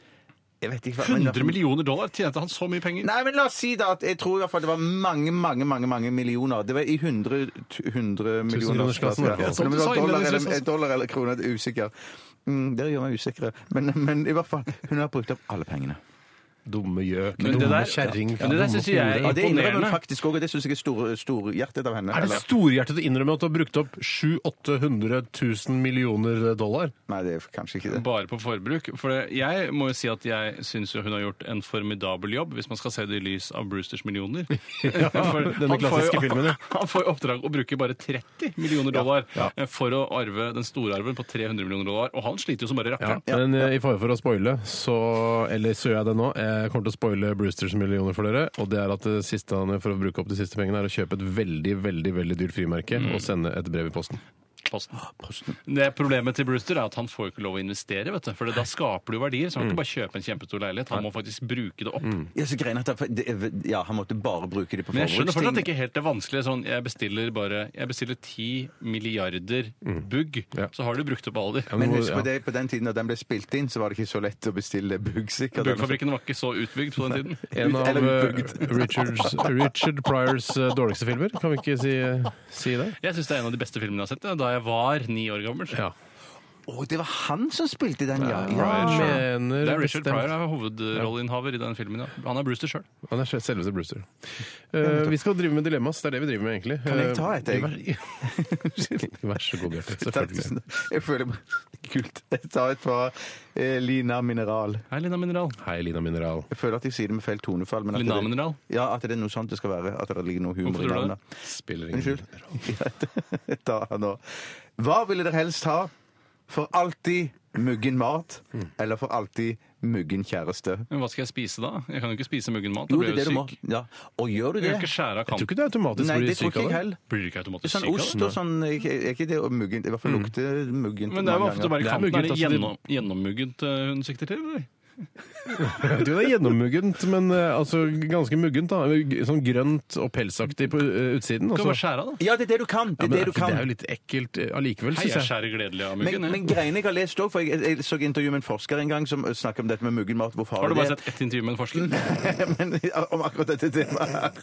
Jeg vet ikke hva men i hvert
100
fall-
millioner dollar? Tjente han så mye penger?
Nei, men la oss si da at jeg tror i hvert fall det var mange, mange mange, mange millioner. Det var i 100, 100 millioner.
kronersklassen,
Ja,
i hvert fall.
Men om det var
Som du sa
dollar
innledningsvis
sånn?
eller,
også.
dollar eller kroner, det er usikker. Mm, det gjør meg usikre. Men, men i hvert fall, hun har brukt opp alle pengene.
Dumme gjøk.
Men det
dumme
der-
kjerring.
Men det der synes jeg er
Ja, det innrømmer
imponerende.
hun faktisk òg, og det syns jeg er stor, storhjertet av henne.
Er det
eller?
storhjertet å innrømme at du har brukt opp 700 000 millioner dollar?
Nei, det er kanskje ikke det.
Bare på forbruk. For det- jeg må jo si at jeg syns jo hun har gjort en formidabel jobb, hvis man skal se det i lys av Brewsters millioner. For
denne
han får
klassiske
jo-
filmen, ja.
Han får jo oppdrag å bruke bare 30 millioner dollar eh, for å arve den store arven på 300 millioner dollar, og han sliter jo som bare
Ja,
rakkeren.
men eh, i fare for å spoile, så Eller så gjør jeg det nå. Jeg kommer til å spoile Brewsters millioner for dere. Og det er at det siste han gjør for å bruke opp de siste pengene, er å kjøpe et veldig, veldig veldig dyrt frimerke
Mm.
og sende et brev i posten.
Posten. Det Problemet til Brewster er at han får jo ikke lov å investere, vet du. For da skaper du verdier. Så han kan ikke bare kjøpe en kjempestor leilighet, han må faktisk bruke det opp.
Ja, så greien er at han, det, er- ja, han måtte bare bruke det på
Men jeg skjønner fortsatt
forbruksting.
ikke helt det vanskelige. Sånn, jeg bestiller bare Jeg bestiller 10 milliarder bugg,
Ja.
så har du brukt opp alle de.
Men husk
Ja.
på det, på den tiden da den ble spilt inn, så var det ikke så lett å bestille bugg, sikkert.
Buggfabrikken var ikke så utbygd på den tiden.
En av
Eller
eh,
bygd.
Richards, Richard Pryors eh, dårligste filmer. Kan vi ikke si, eh, si det?
Jeg syns det er en av de beste filmene jeg har sett, ja, da jeg var ni år gammel.
Ja.
Å, det var han som spilte den, ja! ja.
Jeg
Det
Mener
er
bestemt-
Richard Pryor er hovedrolleinnehaver i den filmen. Ja. Han er Brewster sjøl.
Han er selveste Brewster. Eh, vi skal drive med dilemmas. Det er det vi driver med, egentlig.
Kan jeg ta et, jeg?
jeg? Vær så god, Bjarte.
Takk,
Selvfølgelig.
tusen takk. Jeg føler meg kult. Jeg tar et fra eh, Lina Mineral.
Hei, Lina Mineral.
Hei, Lina Mineral.
Jeg føler at jeg sier det med feil tonefall. Men at
Lina
det-
Mineral?
Ja, at det er noe sånt det skal være. At det ligger noe humor i
Hvorfor tror du
navnet.
Spiller ingen
Unnskyld. Jeg tar han nå. Hva ville dere helst ha? For alltid muggen mat,
Mm.
eller for alltid muggen kjæreste?
Men hva skal jeg spise da? Jeg kan jo ikke spise muggen mat. Da
Jo,
blir
det er det du
jeg jo
må.
syk.
Ja. Og gjør du
Jeg kan
det?
ikke skjære av
Jeg tror
kanten.
ikke du automatisk
Nei,
blir
det tror
syk
ikke
av
jeg
det.
heller.
Blir du ikke automatisk
Sånn
syk av
ost
det?
og sånn Er ikke det og muggen I hvert fall lukter muggen.
Mm. Men det er jo ofte bare
Det er
kanten. Er
mugget,
det
altså, de-
gjennom, gjennommuggent eh, hun sikter til, eller?
Jeg tror det er gjennommuggent, men eh, altså, ganske muggent. da. Sånn grønt og pelsaktig på eh, utsiden.
Du kan bare
Altså.
skjære av, da.
Ja, det er det du kan! Det
Ja,
er
men
det du
det er
kan.
jo litt ekkelt eh, allikevel,
Hei,
syns
jeg
jeg.
skjærer gledelig av muggen.
Men,
jeg.
men greiene jeg har lest òg, for jeg, jeg så intervju med en forsker en gang som snakket om dette med muggenmat. Hvor farlig
Har du
det
bare
er.
sett ett intervju med en forsker?
men, ja, om akkurat dette temaet her.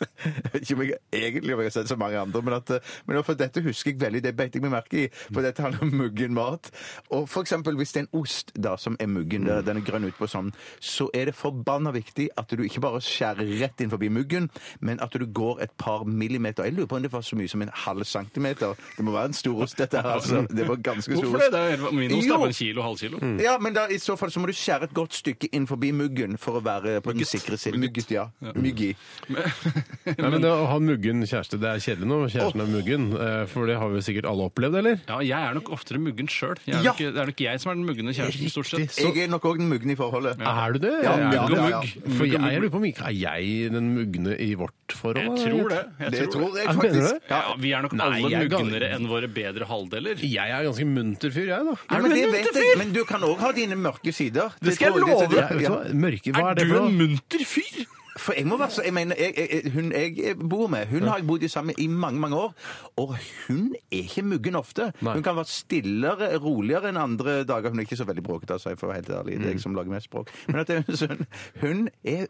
Jeg vet ikke om jeg egentlig om jeg har sett så mange andre, men, at, eh, men for dette husker jeg veldig, det beit jeg meg merke i, for dette handler om muggen mat. Og for eksempel hvis det er en ost da, som er muggen, der den er grønn ut på sånn, så er det forbanna viktig at du ikke bare skjærer rett inn forbi muggen, men at du går et par millimeter. Jeg lurer på om det var så mye som en halv centimeter. Det må være en stor ost, dette her. Altså. Det var ganske stor
Hvorfor
ost.
det? det er jo helt, min ost
Jo. Mm.
er på en kilo, halv kilo.
Ja, men da, i så fall så må du skjære et godt stykke inn forbi muggen for å være på den sikre siden. Mugget, ja. Myggi.
Nei, men det Å ha muggen kjæreste, det er kjedelig nå. Kjæresten er muggen. eh, For det har vi sikkert alle opplevd, eller?
Ja, jeg er nok oftere muggen sjøl. Det
Ja.
er nok jeg som er den muggende kjæresten, stort sett.
Så-
Jeg er nok òg den mugne i forholdet.
Er du det?
Ja,
Er
mugg
du-
og
mugg.
For jeg, jeg lurer på om ikke er jeg den mugne i vårt forhold?
Jeg
da?
tror det.
Det tror jeg
Ja, mener du det?
faktisk.
Ja, vi er nok
Nei,
alle
jeg er gal-
mugnere enn våre bedre halvdeler.
Jeg er ganske munter fyr, jeg, da.
Ja, men, det vet jeg. men du kan òg ha dine mørke sider. Det,
skal jeg
tror
love
det-
deg! Vet du hva? Mørke, hva er det
du
for
en
noe?
munter fyr?
For jeg må være så Jeg mener, jeg, jeg, jeg- hun jeg eh, bor med, hun har jeg bodd i sammen i mange, mange år, og hun er ikke muggen ofte.
Nei.
Hun kan være stillere, roligere enn andre dager. Hun er ikke så veldig bråkete, altså, jeg får være helt ærlig.
Mm.
Det er jeg som lager mest bråk. Men at hun, så hun- hun er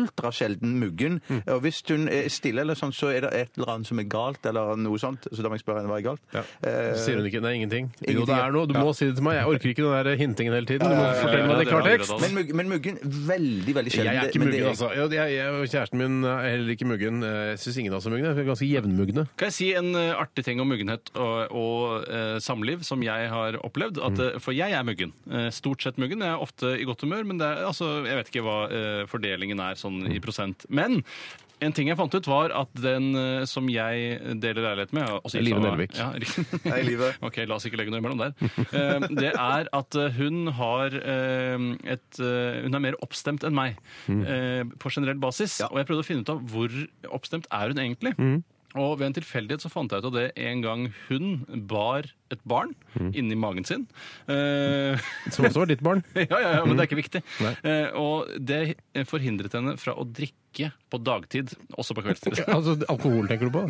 ultrasjelden muggen,
Mm.
og hvis hun er stille eller sånn, så er det et eller annet som er galt, eller noe sånt, så da må jeg spørre henne hva er galt.
Ja.
Eh,
Så Sier hun ikke? Det er ingenting.
Ingenting,
Jo, det er noe. Du må
ja.
si det til meg. Jeg orker ikke den der hintingen hele tiden. Du må fortelle
ja,
meg det i
det var
klartekst.
Myrdal.
men, mugg- men muggen veldig, veldig sjelden.
Jeg er ikke
Men det
muggen, altså. Jeg, jeg, jeg, og kjæresten min er heller ikke muggen. Eh, Jeg syns ingen av oss er mugne. Vi er ganske jevnmugne.
Kan jeg si en eh, artig ting om muggenhet og, og eh, samliv som jeg har opplevd? At, eh, For jeg er muggen. Eh, stort sett muggen. Jeg er ofte i godt humør, men det er, altså, jeg vet ikke hva eh, fordelingen er sånn i prosent. Men en ting jeg fant ut, var at den eh, som jeg deler leilighet med også
Live
gifta meg-
Nelvik.
Ja, riktig.
Hei, Live.
Ok, la oss ikke legge noe imellom der. Eh, Det er at eh, hun har eh, et eh, Hun er mer oppstemt enn meg eh, på generell basis. Og jeg prøvde å finne ut av hvor oppstemt er hun egentlig. Og ved en tilfeldighet så fant jeg ut av det en gang hun bar et barn inni magen sin. Eh,
Som også var ditt barn.
ja, ja, ja, men det er ikke viktig.
Nei.
Eh, og det forhindret henne fra å drikke på dagtid, også på kveldstid.
Altså, alkohol tenker du på?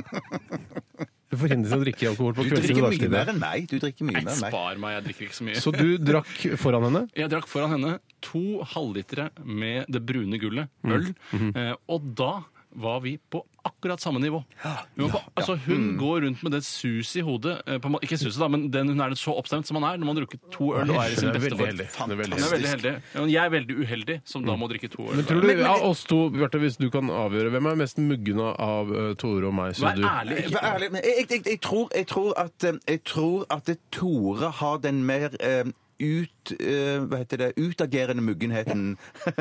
Du forhindres å drikke alkohol på
Du
kveldstid
drikker
og
mye mer
dagstid.
enn meg. Du drikker mye mer enn meg.
Spar meg, jeg drikker ikke så mye.
Så du drakk foran henne?
Jeg drakk foran henne to halvlitere med det brune gullet,
Mm.
øl,
Mm-hmm.
eh, og da var vi på akkurat samme nivå. Vi var på, altså Hun
Mm.
går rundt med det sus i hodet eh, på, en må- Ikke suset, da, men den, hun er så oppstemt som man er når man har drukket to øl og er i sin
veldig
beste form.
heldig. Hun er veldig
Hun er veldig heldig. Ja, men Jeg er veldig uheldig som da må drikke to øl.
Men tror du, av oss to, Bjarte, hvis du kan avgjøre, hvem er mest muggende av eh, Tore og meg? synes
Vær
du?
ærlig. Mm.
Vær ærlig, men jeg, jeg, jeg, tror, jeg, tror at, eh, jeg tror at det Tore har den mer eh, ut, eh, hva heter det, utagerende muggenheten.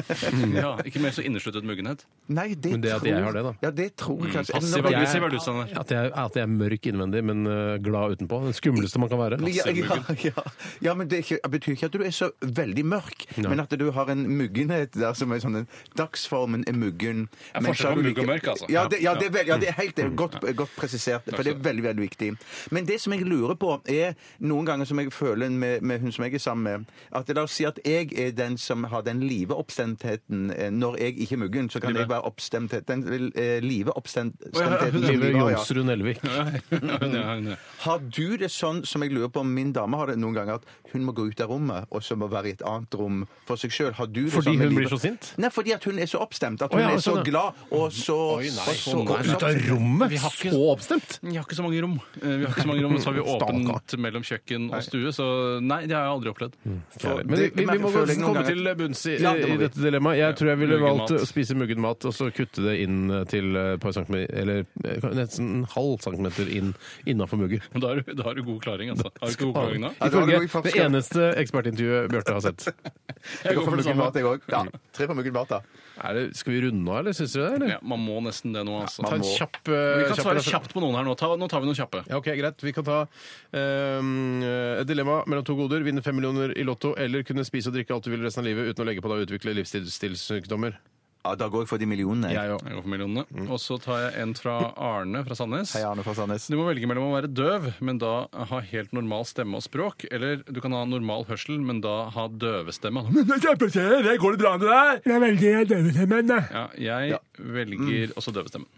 Ja, ikke mer så innesluttet muggenhet.
Nei, det,
Men det at
tror,
jeg har det, da. Mm,
Ja, det tror jeg kanskje.
Passiv
Nå-
aggressiv er du, Steinar.
At jeg, at jeg er mørk innvendig, men eh, glad utenpå. Den skumleste man kan være.
Ja, ja, ja. ja, men det er ikke, betyr ikke at du er så veldig mørk, men at du har en muggenhet der som er sånn en Dagsformen er muggen.
Ja,
men
forskjell
så er
på
du
mugg og
like-
mørk, altså. Mm.
Ja, det, ja, det er, vel- ja, det er helt det er godt, godt presisert, for det er veldig, veldig viktig. Men det som jeg lurer på, er noen ganger som jeg føler med, med hun som jeg er sammen med, at la oss si at jeg er den som har den live oppstemtheten eh, når jeg ikke er muggen, så kan jeg være oppstemthet. Den eh, live oppstemtheten som
Live
du har, ja.
Jonsrud Nelvik.
Ja, hun er-
Har du det sånn som jeg lurer på om min dame har det noen ganger, at hun må gå ut av rommet og så må være i et annet rom for seg sjøl?
Fordi hun blir så sint?
sånn Nei, fordi at hun er så oppstemt. At
Å,
hun
ja,
er så
sånn, ja.
glad og så og så-
Gå ut av rommet!
Vi har ikke-
Så oppstemt!
Vi Mm, har ikke så mange rom. Eh, Vi har ikke så mange rom, så har vi åpent
Stakkar.
mellom kjøkken og stue, så nei, det har jeg aldri opplevd.
Mm.
For
Men vi,
det-
vi, vi må
føler jeg noen
komme
ganger-
til bunns i,
Ja, det må
i
vi.
dette dilemmaet. Jeg tror jeg ville
Muggen
valgt
mat.
å spise muggen mat og så kutte det inn eh, til et par centimeter Eller eh, nesten en halv centimeter inn innafor muggen.
Men da har du, da har du god klaring, altså. Har du ikke god klaring da?
Ja, det var det
Ifølge
vi faktisk-
det eneste ekspertintervjuet Bjarte har sett.
Jeg går for
det
muggen
samme.
mat, jeg òg. Ja. Tre på muggen mat, da.
Er det, skal vi runde av, eller syns du det? Eller?
Ja, man må nesten det nå, altså.
Ta en
Man må.
kjapp,
Vi
eh,
kan
kjapp
svare kjapt på noen her nå. Ta, nå tar vi noen kjappe.
Ja, ok, greit. Vi kan ta ehm, et dilemma mellom to goder. Vinne fem millioner i lotto eller kunne spise og drikke alt du vil resten av livet uten å legge på deg og utvikle livsstilssykdommer.
Ja, da går jeg for de millionene. jeg.
Jeg òg.
Jeg går for millionene.
Mm.
Og så tar jeg en fra Arne fra Sandnes.
Hei, Arne fra Sandnes.
Du må velge mellom å være døv, men da ha helt normal stemme og språk, eller du kan ha normal hørsel, men da ha døvestemme. Det går det bra med deg? Jeg velger døvestemmen. Ja, jeg velger også døvestemmen.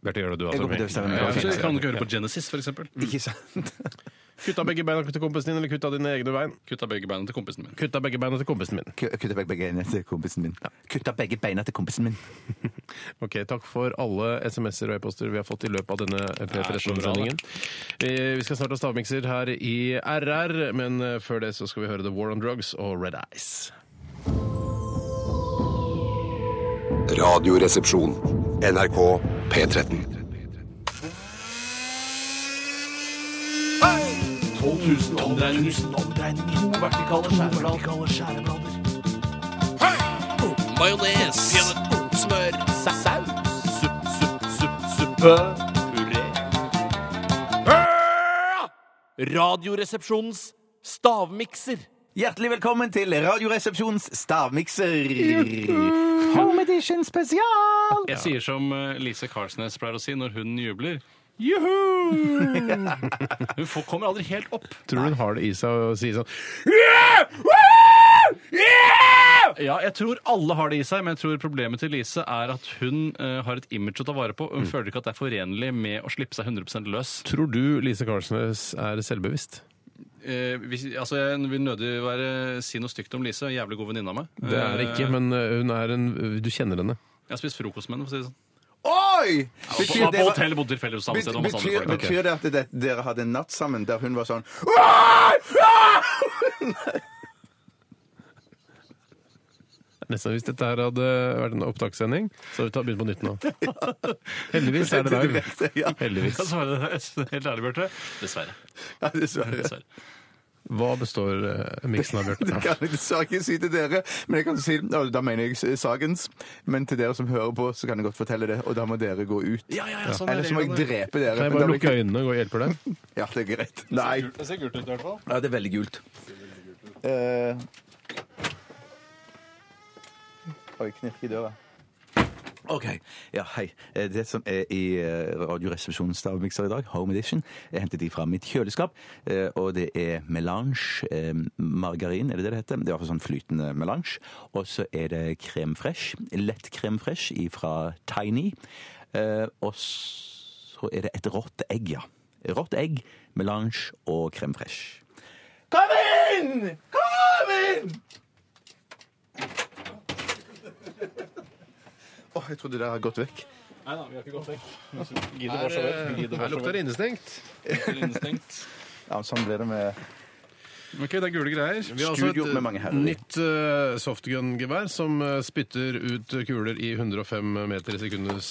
Bjarte, gjør det du
Jeg går
altså.
på døvstemmen.
Mm. Ja,
Ja,
fint.
så kan du ikke høre på Genesis, for eksempel.
Ikke sant?
Kutt av begge beina til kompisen din, eller kutt av dine egne bein?
Kutta begge beina til kompisen min.
Kutt av begge beina til kompisen min.
Ku- Kutta begge beina til kompisen min. Kutta begge beina til kompisen min.
Ok, Takk for alle SMS-er og e-poster vi har fått i løpet av denne P13-sendingen. Eh, Vi skal snart ha stavmikser her i RR, men eh, før det så skal vi høre The War on Drugs og Red Eyes.
Radioresepsjon. NRK P13.
12 000 omdreininger. To vertikale skjæreblader.
Majones. Smør.
Suppe. Puré. Radioresepsjonens stavmikser.
Hjertelig velkommen til Radioresepsjonens stavmikser. Home edition spesial!
Jeg sier som eh, Lise Karsnes pleier å si når hun jubler. Juhu! Hun får, kommer aldri helt opp.
Tror du hun har det i seg å si sånn
Ja, jeg tror alle har det i seg, men jeg tror problemet til Lise er at hun eh, har et image å ta vare på. og Hun føler ikke at det er forenlig med å slippe seg 100 løs.
Tror du Lise Karlsnes er selvbevisst?
Eh, hvis, altså, jeg vil nødig være, si noe stygt om Lise. en Jævlig god venninne av meg.
Det er det ikke,
Eh,
men hun er en Du kjenner henne.
Jeg har spist frokost med henne. for å si det sånn.
Oi!
På,
Betyr
på,
det-
hotell bodde tilfeldigvis samme sted. og masse andre
betyr,
folk.
betyr det at det, dere hadde en natt sammen der hun var sånn
Nesten hvis dette her hadde vært en opptakssending, så hadde vi tatt- begynt på nytt nå. Heldigvis er det live.
Ja,
Jeg
Heldigvis.
kan svare deg helt ærlig, Bjarte. Eh, Dessverre.
ja, dessverre.
Dessverre.
Hva består eh, miksen av,
Det
Bjarte?
kan jeg dessverre ikke si til dere, men jeg kan si, og da mener jeg s- Sagens. Men til dere som hører på, så kan jeg godt fortelle det, og da må dere gå ut.
Ja, ja, ja, sånn er
Eller så må jeg
reglene.
drepe dere.
Kan jeg
Da
bare
blir
lukke øynene og gå og hjelpe deg?
Ja, det er greit. Nei.
Det ser gult ut i hvert fall.
Ja, det er veldig gult. Eh. Oi, knirk i døra. OK. Ja, hei. Eh, Det som er i eh, Radioresepsjonens stavmikser i dag, Home Edition, jeg hentet de fra mitt kjøleskap. eh, Og det er melange, eh, margarin, er det det det heter? Det er i hvert fall sånn flytende melange. Og så er det krem fresh, lett krem fresh fra Tiny. Eh, Og så er det et rått egg, ja. Rått egg, melange og krem fresh. Kom inn! Kom inn!
Åh, jeg trodde det hadde gått vekk.
Nei da, vi har ikke gått vekk.
Her, eh, her lukter det innestengt.
Ja, sånn ble det med
Ok, det er gule greier. Vi har
Studio
også
med mange
et
herrer i.
nytt eh, softgun-gevær som eh, spytter ut kuler i 105 meter i sekundets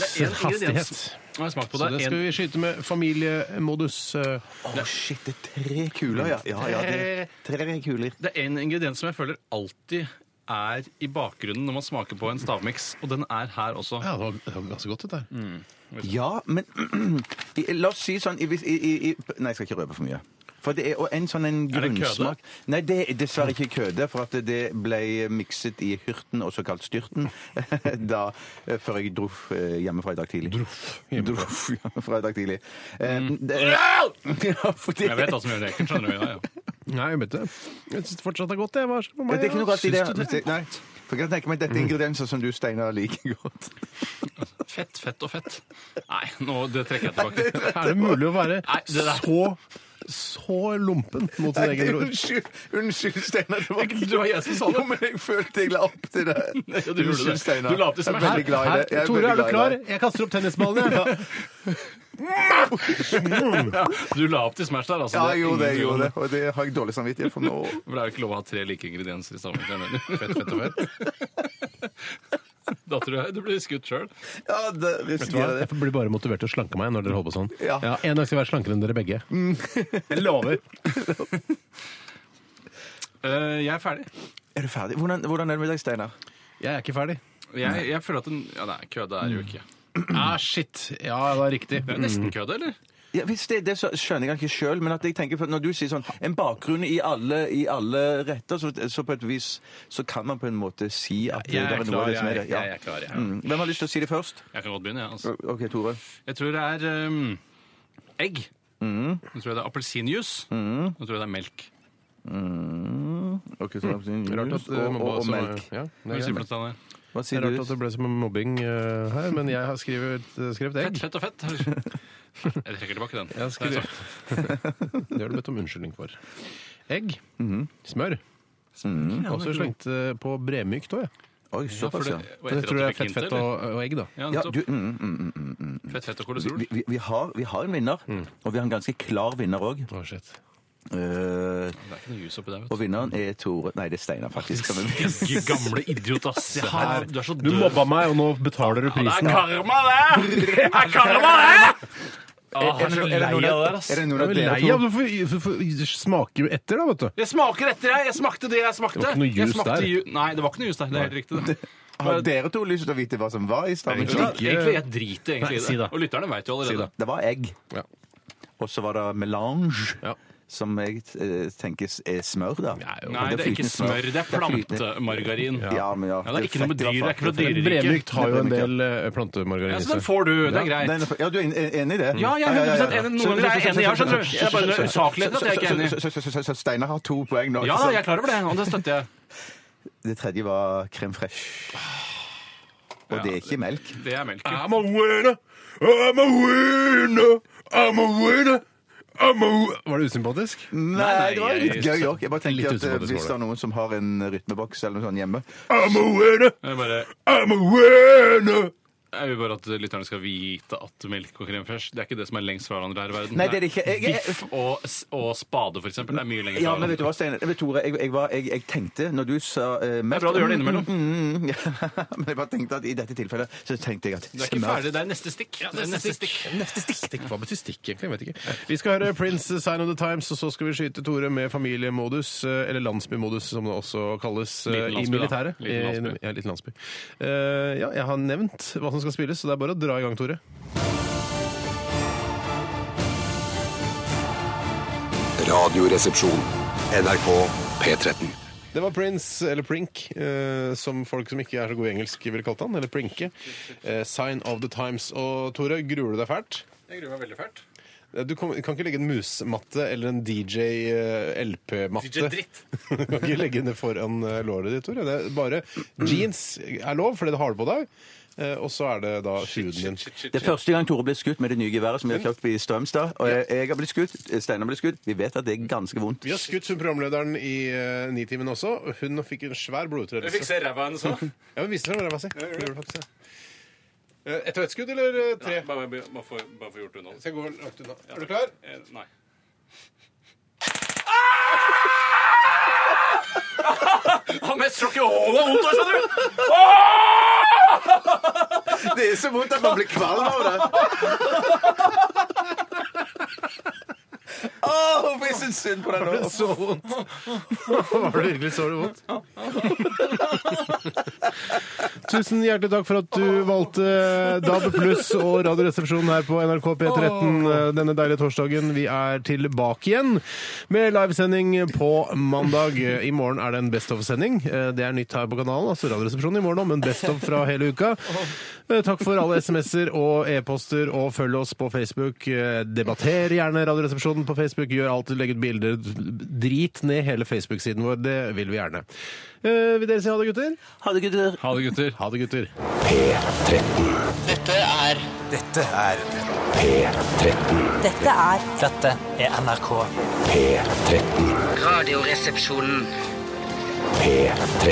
Det er en ingrediens.
hastighet.
Nå har jeg smakt på
Så
det.
altså. det skal
En,
vi skyte med familiemodus. eh.
Å, shit, det er tre kuler, ja. Ja, ja, det er tre kuler.
det er en ingrediens som jeg føler alltid er i bakgrunnen når man smaker på en stavmiks, og den er her også.
Ja, det var, det var ganske godt, dette her.
Ja, men i- la oss si sånn i, i, i, i, Nei, jeg skal ikke røpe for mye. For det er og en sånn en
det køde?
grunnsmak Nei, det er dessverre ikke køde, for at det ble mikset i hyrten, også kalt styrten, da, eh, før jeg dro eh, hjemmefra i dag tidlig. Droff hjemmefra, i dag tidlig. Eh, det, ja, fordi,
Jeg vet hva som gjør det ekkelt, skjønner du? Ja, ja.
Nei, jeg vet det. Jeg syns fortsatt det er godt, det. Hva skjer med
det
meg?
er ikke noe
da?
rart i det.
Syns du
det- Nei, for jeg kan tenke meg at dette er ingredienser som du, Steinar, liker godt.
Fett, fett og fett. Nei, nå, det trekker jeg tilbake.
Er det mulig å være
Nei, det der-
så, så lumpen mot sin egen bror?
Unnskyld, unnskyld, Steinar. Det var ikke
Det var jeg som sa det.
Jo, men jeg følte jeg la opp til det.
gjorde det.
Unnskyld, Steinar.
Du la opp til
Jeg
som er
er
her.
veldig glad i det. Jeg
Tore,
veldig
er du
glad i
klar?
det.
Jeg kaster opp tennisballen, jeg.
Du la opp til Smash der, altså.
Ja,
er
jeg gjorde det,
ingen
jeg
tvil om
gjorde det. Og det har jeg dårlig samvittighet for nå.
For det er jo ikke lov å ha tre like ingredienser i stavmikseren. heller.
Fett, fett og fett.
Da tror jeg du blir skutt sjøl.
Ja,
Vet
det
du hva?
risikerer det.
Jeg blir bare motivert til å slanke meg når dere holder på sånn.
Ja.
En dag skal jeg være slankere enn dere begge. Jeg lover.
Eh, jeg er ferdig.
Er du ferdig? Hvordan, hvordan er det med deg, Steinar?
Jeg er ikke ferdig.
Jeg, jeg føler at den Ja, nei, køde er det jo ikke.
Ah, shit. Ja, det er riktig.
Det er nesten køde, eller?
Ja, hvis det er det, så skjønner jeg ikke sjøl, men at jeg tenker på, når du sier sånn en bakgrunn i alle, i alle retter, så, så på et vis så kan man på en måte si at
Jeg
det
er
er noe av
klar,
det som
jeg,
er det. Ja.
jeg er klar. Jeg,
Mm. Hvem har lyst til å si det først?
jeg kan godt begynne, jeg. Altså.
OK, Tore.
Jeg tror det er ehm, egg. Nå tror jeg det er appelsinjuice. Nå tror jeg det er melk.
Ok, så da-
Rart
og,
at, eh,
og,
mamma
og
også-
melk.
Ja,
Hva
det er
sier
greit.
du til det?
Hva
Det
sier
er rart at
du?
det ble som en mobbing eh, her, men jeg har skrevet, eh, skrevet egg.
Fett, fett og fett. Nei, jeg trekker tilbake den.
Jeg har
Det er
skrevet. Det har du bedt om unnskyldning for. Egg. Smør. Og så slengt eh, på bremykt òg, jeg.
Oi,
Ja, for
såpass,
det,
ja.
og
Det tror
etter at du
jeg er
fikk
fett,
hint,
fett
eller?
og, og egg, da.
Ja,
ja
nettopp.
du, mm, mm, mm, mm.
Fett, fett og
Vi-
kolesterol.
vi, vi, har, vi har en vinner,
Mm.
og vi har en ganske klar vinner òg.
Å, shit.
Det er ikke noe jus oppi der,
og vinneren er Tore Nei, det er Steinar, faktisk. Kan vi-
vet du. Gamle idiot, ass. du er så
Du
død.
mobba meg, og nå betaler du prisen.
karma, det! Det er karma, det! jeg er så
Er det
lei
noen
av det
av-
der,
er
ass.
det noen
Jeg
av
er
dere
lei
to
av det, for- for- for- det smaker jo etter, da, vet du.
Jeg smaker etter, jeg. Jeg smakte det jeg smakte.
Det var ikke noe
Jeg
jus
smakte
der.
ju- Nei, det var ikke noe jus der. Det er helt riktig. det.
Har dere to lyst til å vite hva som var i stammen?
Vet du hva? Egentlig, jeg driter
Nei,
egentlig
si
i det.
det.
Og lytterne veit jo allerede.
Det var egg.
Ja.
Og så var det melange,
Ja.
som jeg eh, tenkes er smør, da.
Nei, det er ikke
flytende
smør. Det er
flytende-
plantemargarin.
Ja, men ja.
Ja, det er ikke noe med
fett, i
dyr. Det er
hvert
ikke fra
fall.
dyreriket.
Bremykt har jo en
Det er
del eh, plantemargarin i
Ja, så den
seg.
får du. Det er
Nei,
greit.
nei, ja, du er en- en- enig i det?
Ja, jeg er 100% enig. Noen ganger er jeg enig, ja, skjønner du. Det er bare noe usaklighet at jeg ikke er enig.
Så- så- så- så- så- Så Steinar har to poeng nå.
Ja da, jeg er klar over det, og det støtter jeg.
Det tredje var crème fresh. Og det er ikke melk.
Det er melk.
I'm a winner, I'm a winner, I'm a winner. I'm a wi- Var det usympatisk?
Nei, det var
jeg-
litt gøy òg. Jeg bare
Litt
tenker at eh, hvis
usympatisk var det.
det er noen som har en rytmeboks eller noe sånt hjemme
I'm a winner,
Jeg, bare,
I'm a winner.
jeg vil bare at lytterne skal vite at melk og krem fresh Det er ikke det som er lengst fra hverandre her i verden.
Nei, det er det ikke. Jeg- jeg-
Biff og, s- og spade, for eksempel, er mye lenger
Ja,
fra
men vet du
hverandre.
hva, Steinar? Vet du, Tore, jeg, jeg, var, jeg, jeg tenkte når du sa eh, melk-
bra du gjør det innimellom.
Mm, mm, mm, ja, men jeg bare tenkte at i dette tilfellet så tenkte jeg at
Det er ikke ferdig, det er neste stikk. Det er neste stikk.
Neste stikk. stikk. Hva betyr stikk, egentlig? Jeg vet ikke. Vi skal høre Prince Sign of the Times, og så skal vi skyte Tore med familiemodus, eh, eller landsbymodus, som det også kalles eh,
Liten
i
landsby, da.
militæret.
Liten landsby.
Eh, Ja, liten landsby. Eh, Ja, jeg har nevnt hva som skal spilles, så det er bare å dra i gang, Tore.
Radioresepsjon. NRK P13.
Det var Prince, eller Prink, eh, som folk som ikke er så gode i engelsk ville kalt han, eller Prinke. Eh, Sign of the Times. Og Tore, gruer du deg fælt?
Jeg gruer meg veldig fælt.
Eh, Du kan, kan ikke legge en musematte eller en DJ-LP-matte.
DJ-dritt.
du kan ikke legge det foran eh, låret ditt, Tore. Det er bare jeans er lov, fordi det har det på deg. Eh, Og så er det da huden din.
Det er første gang Tore ble skutt med det nye geværet som vi har kjøpt i Strømstad. Og jeg, jeg har blitt skutt, Steinar ble skutt. Vi vet at det er ganske vondt.
Vi har skutt hun programlederen i eh, Nitimen også. og Hun fikk en svær blodutredelse.
Jeg fikk se ræva hennes òg.
Ja, hun viste fram ræva si. Det gjorde hun faktisk, ja. Eh, Ett og ett skudd, eller eh, tre?
Bare, bare, bare få bare få gjort det unna.
Så jeg går langt unna. Er du klar?
Eh, Nei. Han mest slår ikke hålet vondt, her, skjønner du!
Det er så vondt at man blir kvalm av det. Åh, Hvorfor jeg syns synd på deg nå?
Så vondt. Var det virkelig så vondt? Tusen hjertelig takk for at du valgte DAB pluss og Radioresepsjonen her på NRK P13 eh, denne deilige torsdagen. Vi er tilbake igjen med livesending på mandag. I morgen er det en Best of-sending. Det er nytt her på kanalen, altså Radioresepsjonen i morgen òg, men Best of fra hele uka. Eh, Takk for alle SMS-er og e-poster, og følg oss på Facebook. Eh, Debatter gjerne Radioresepsjonen på Facebook. Gjør alt, legg ut bilder. Drit ned hele Facebook-siden vår. Det vil vi gjerne. Eh, Vil dere si ha det, gutter?
Ha det, gutter.
Ha det, gutter.
Ha det, gutter.
Dette er
Dette er P13.
Dette er
Dette er NRK.
P13.
Radioresepsjonen.
P13.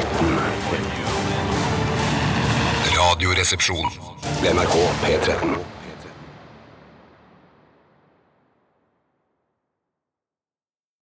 Radioresepsjon. NRK P13.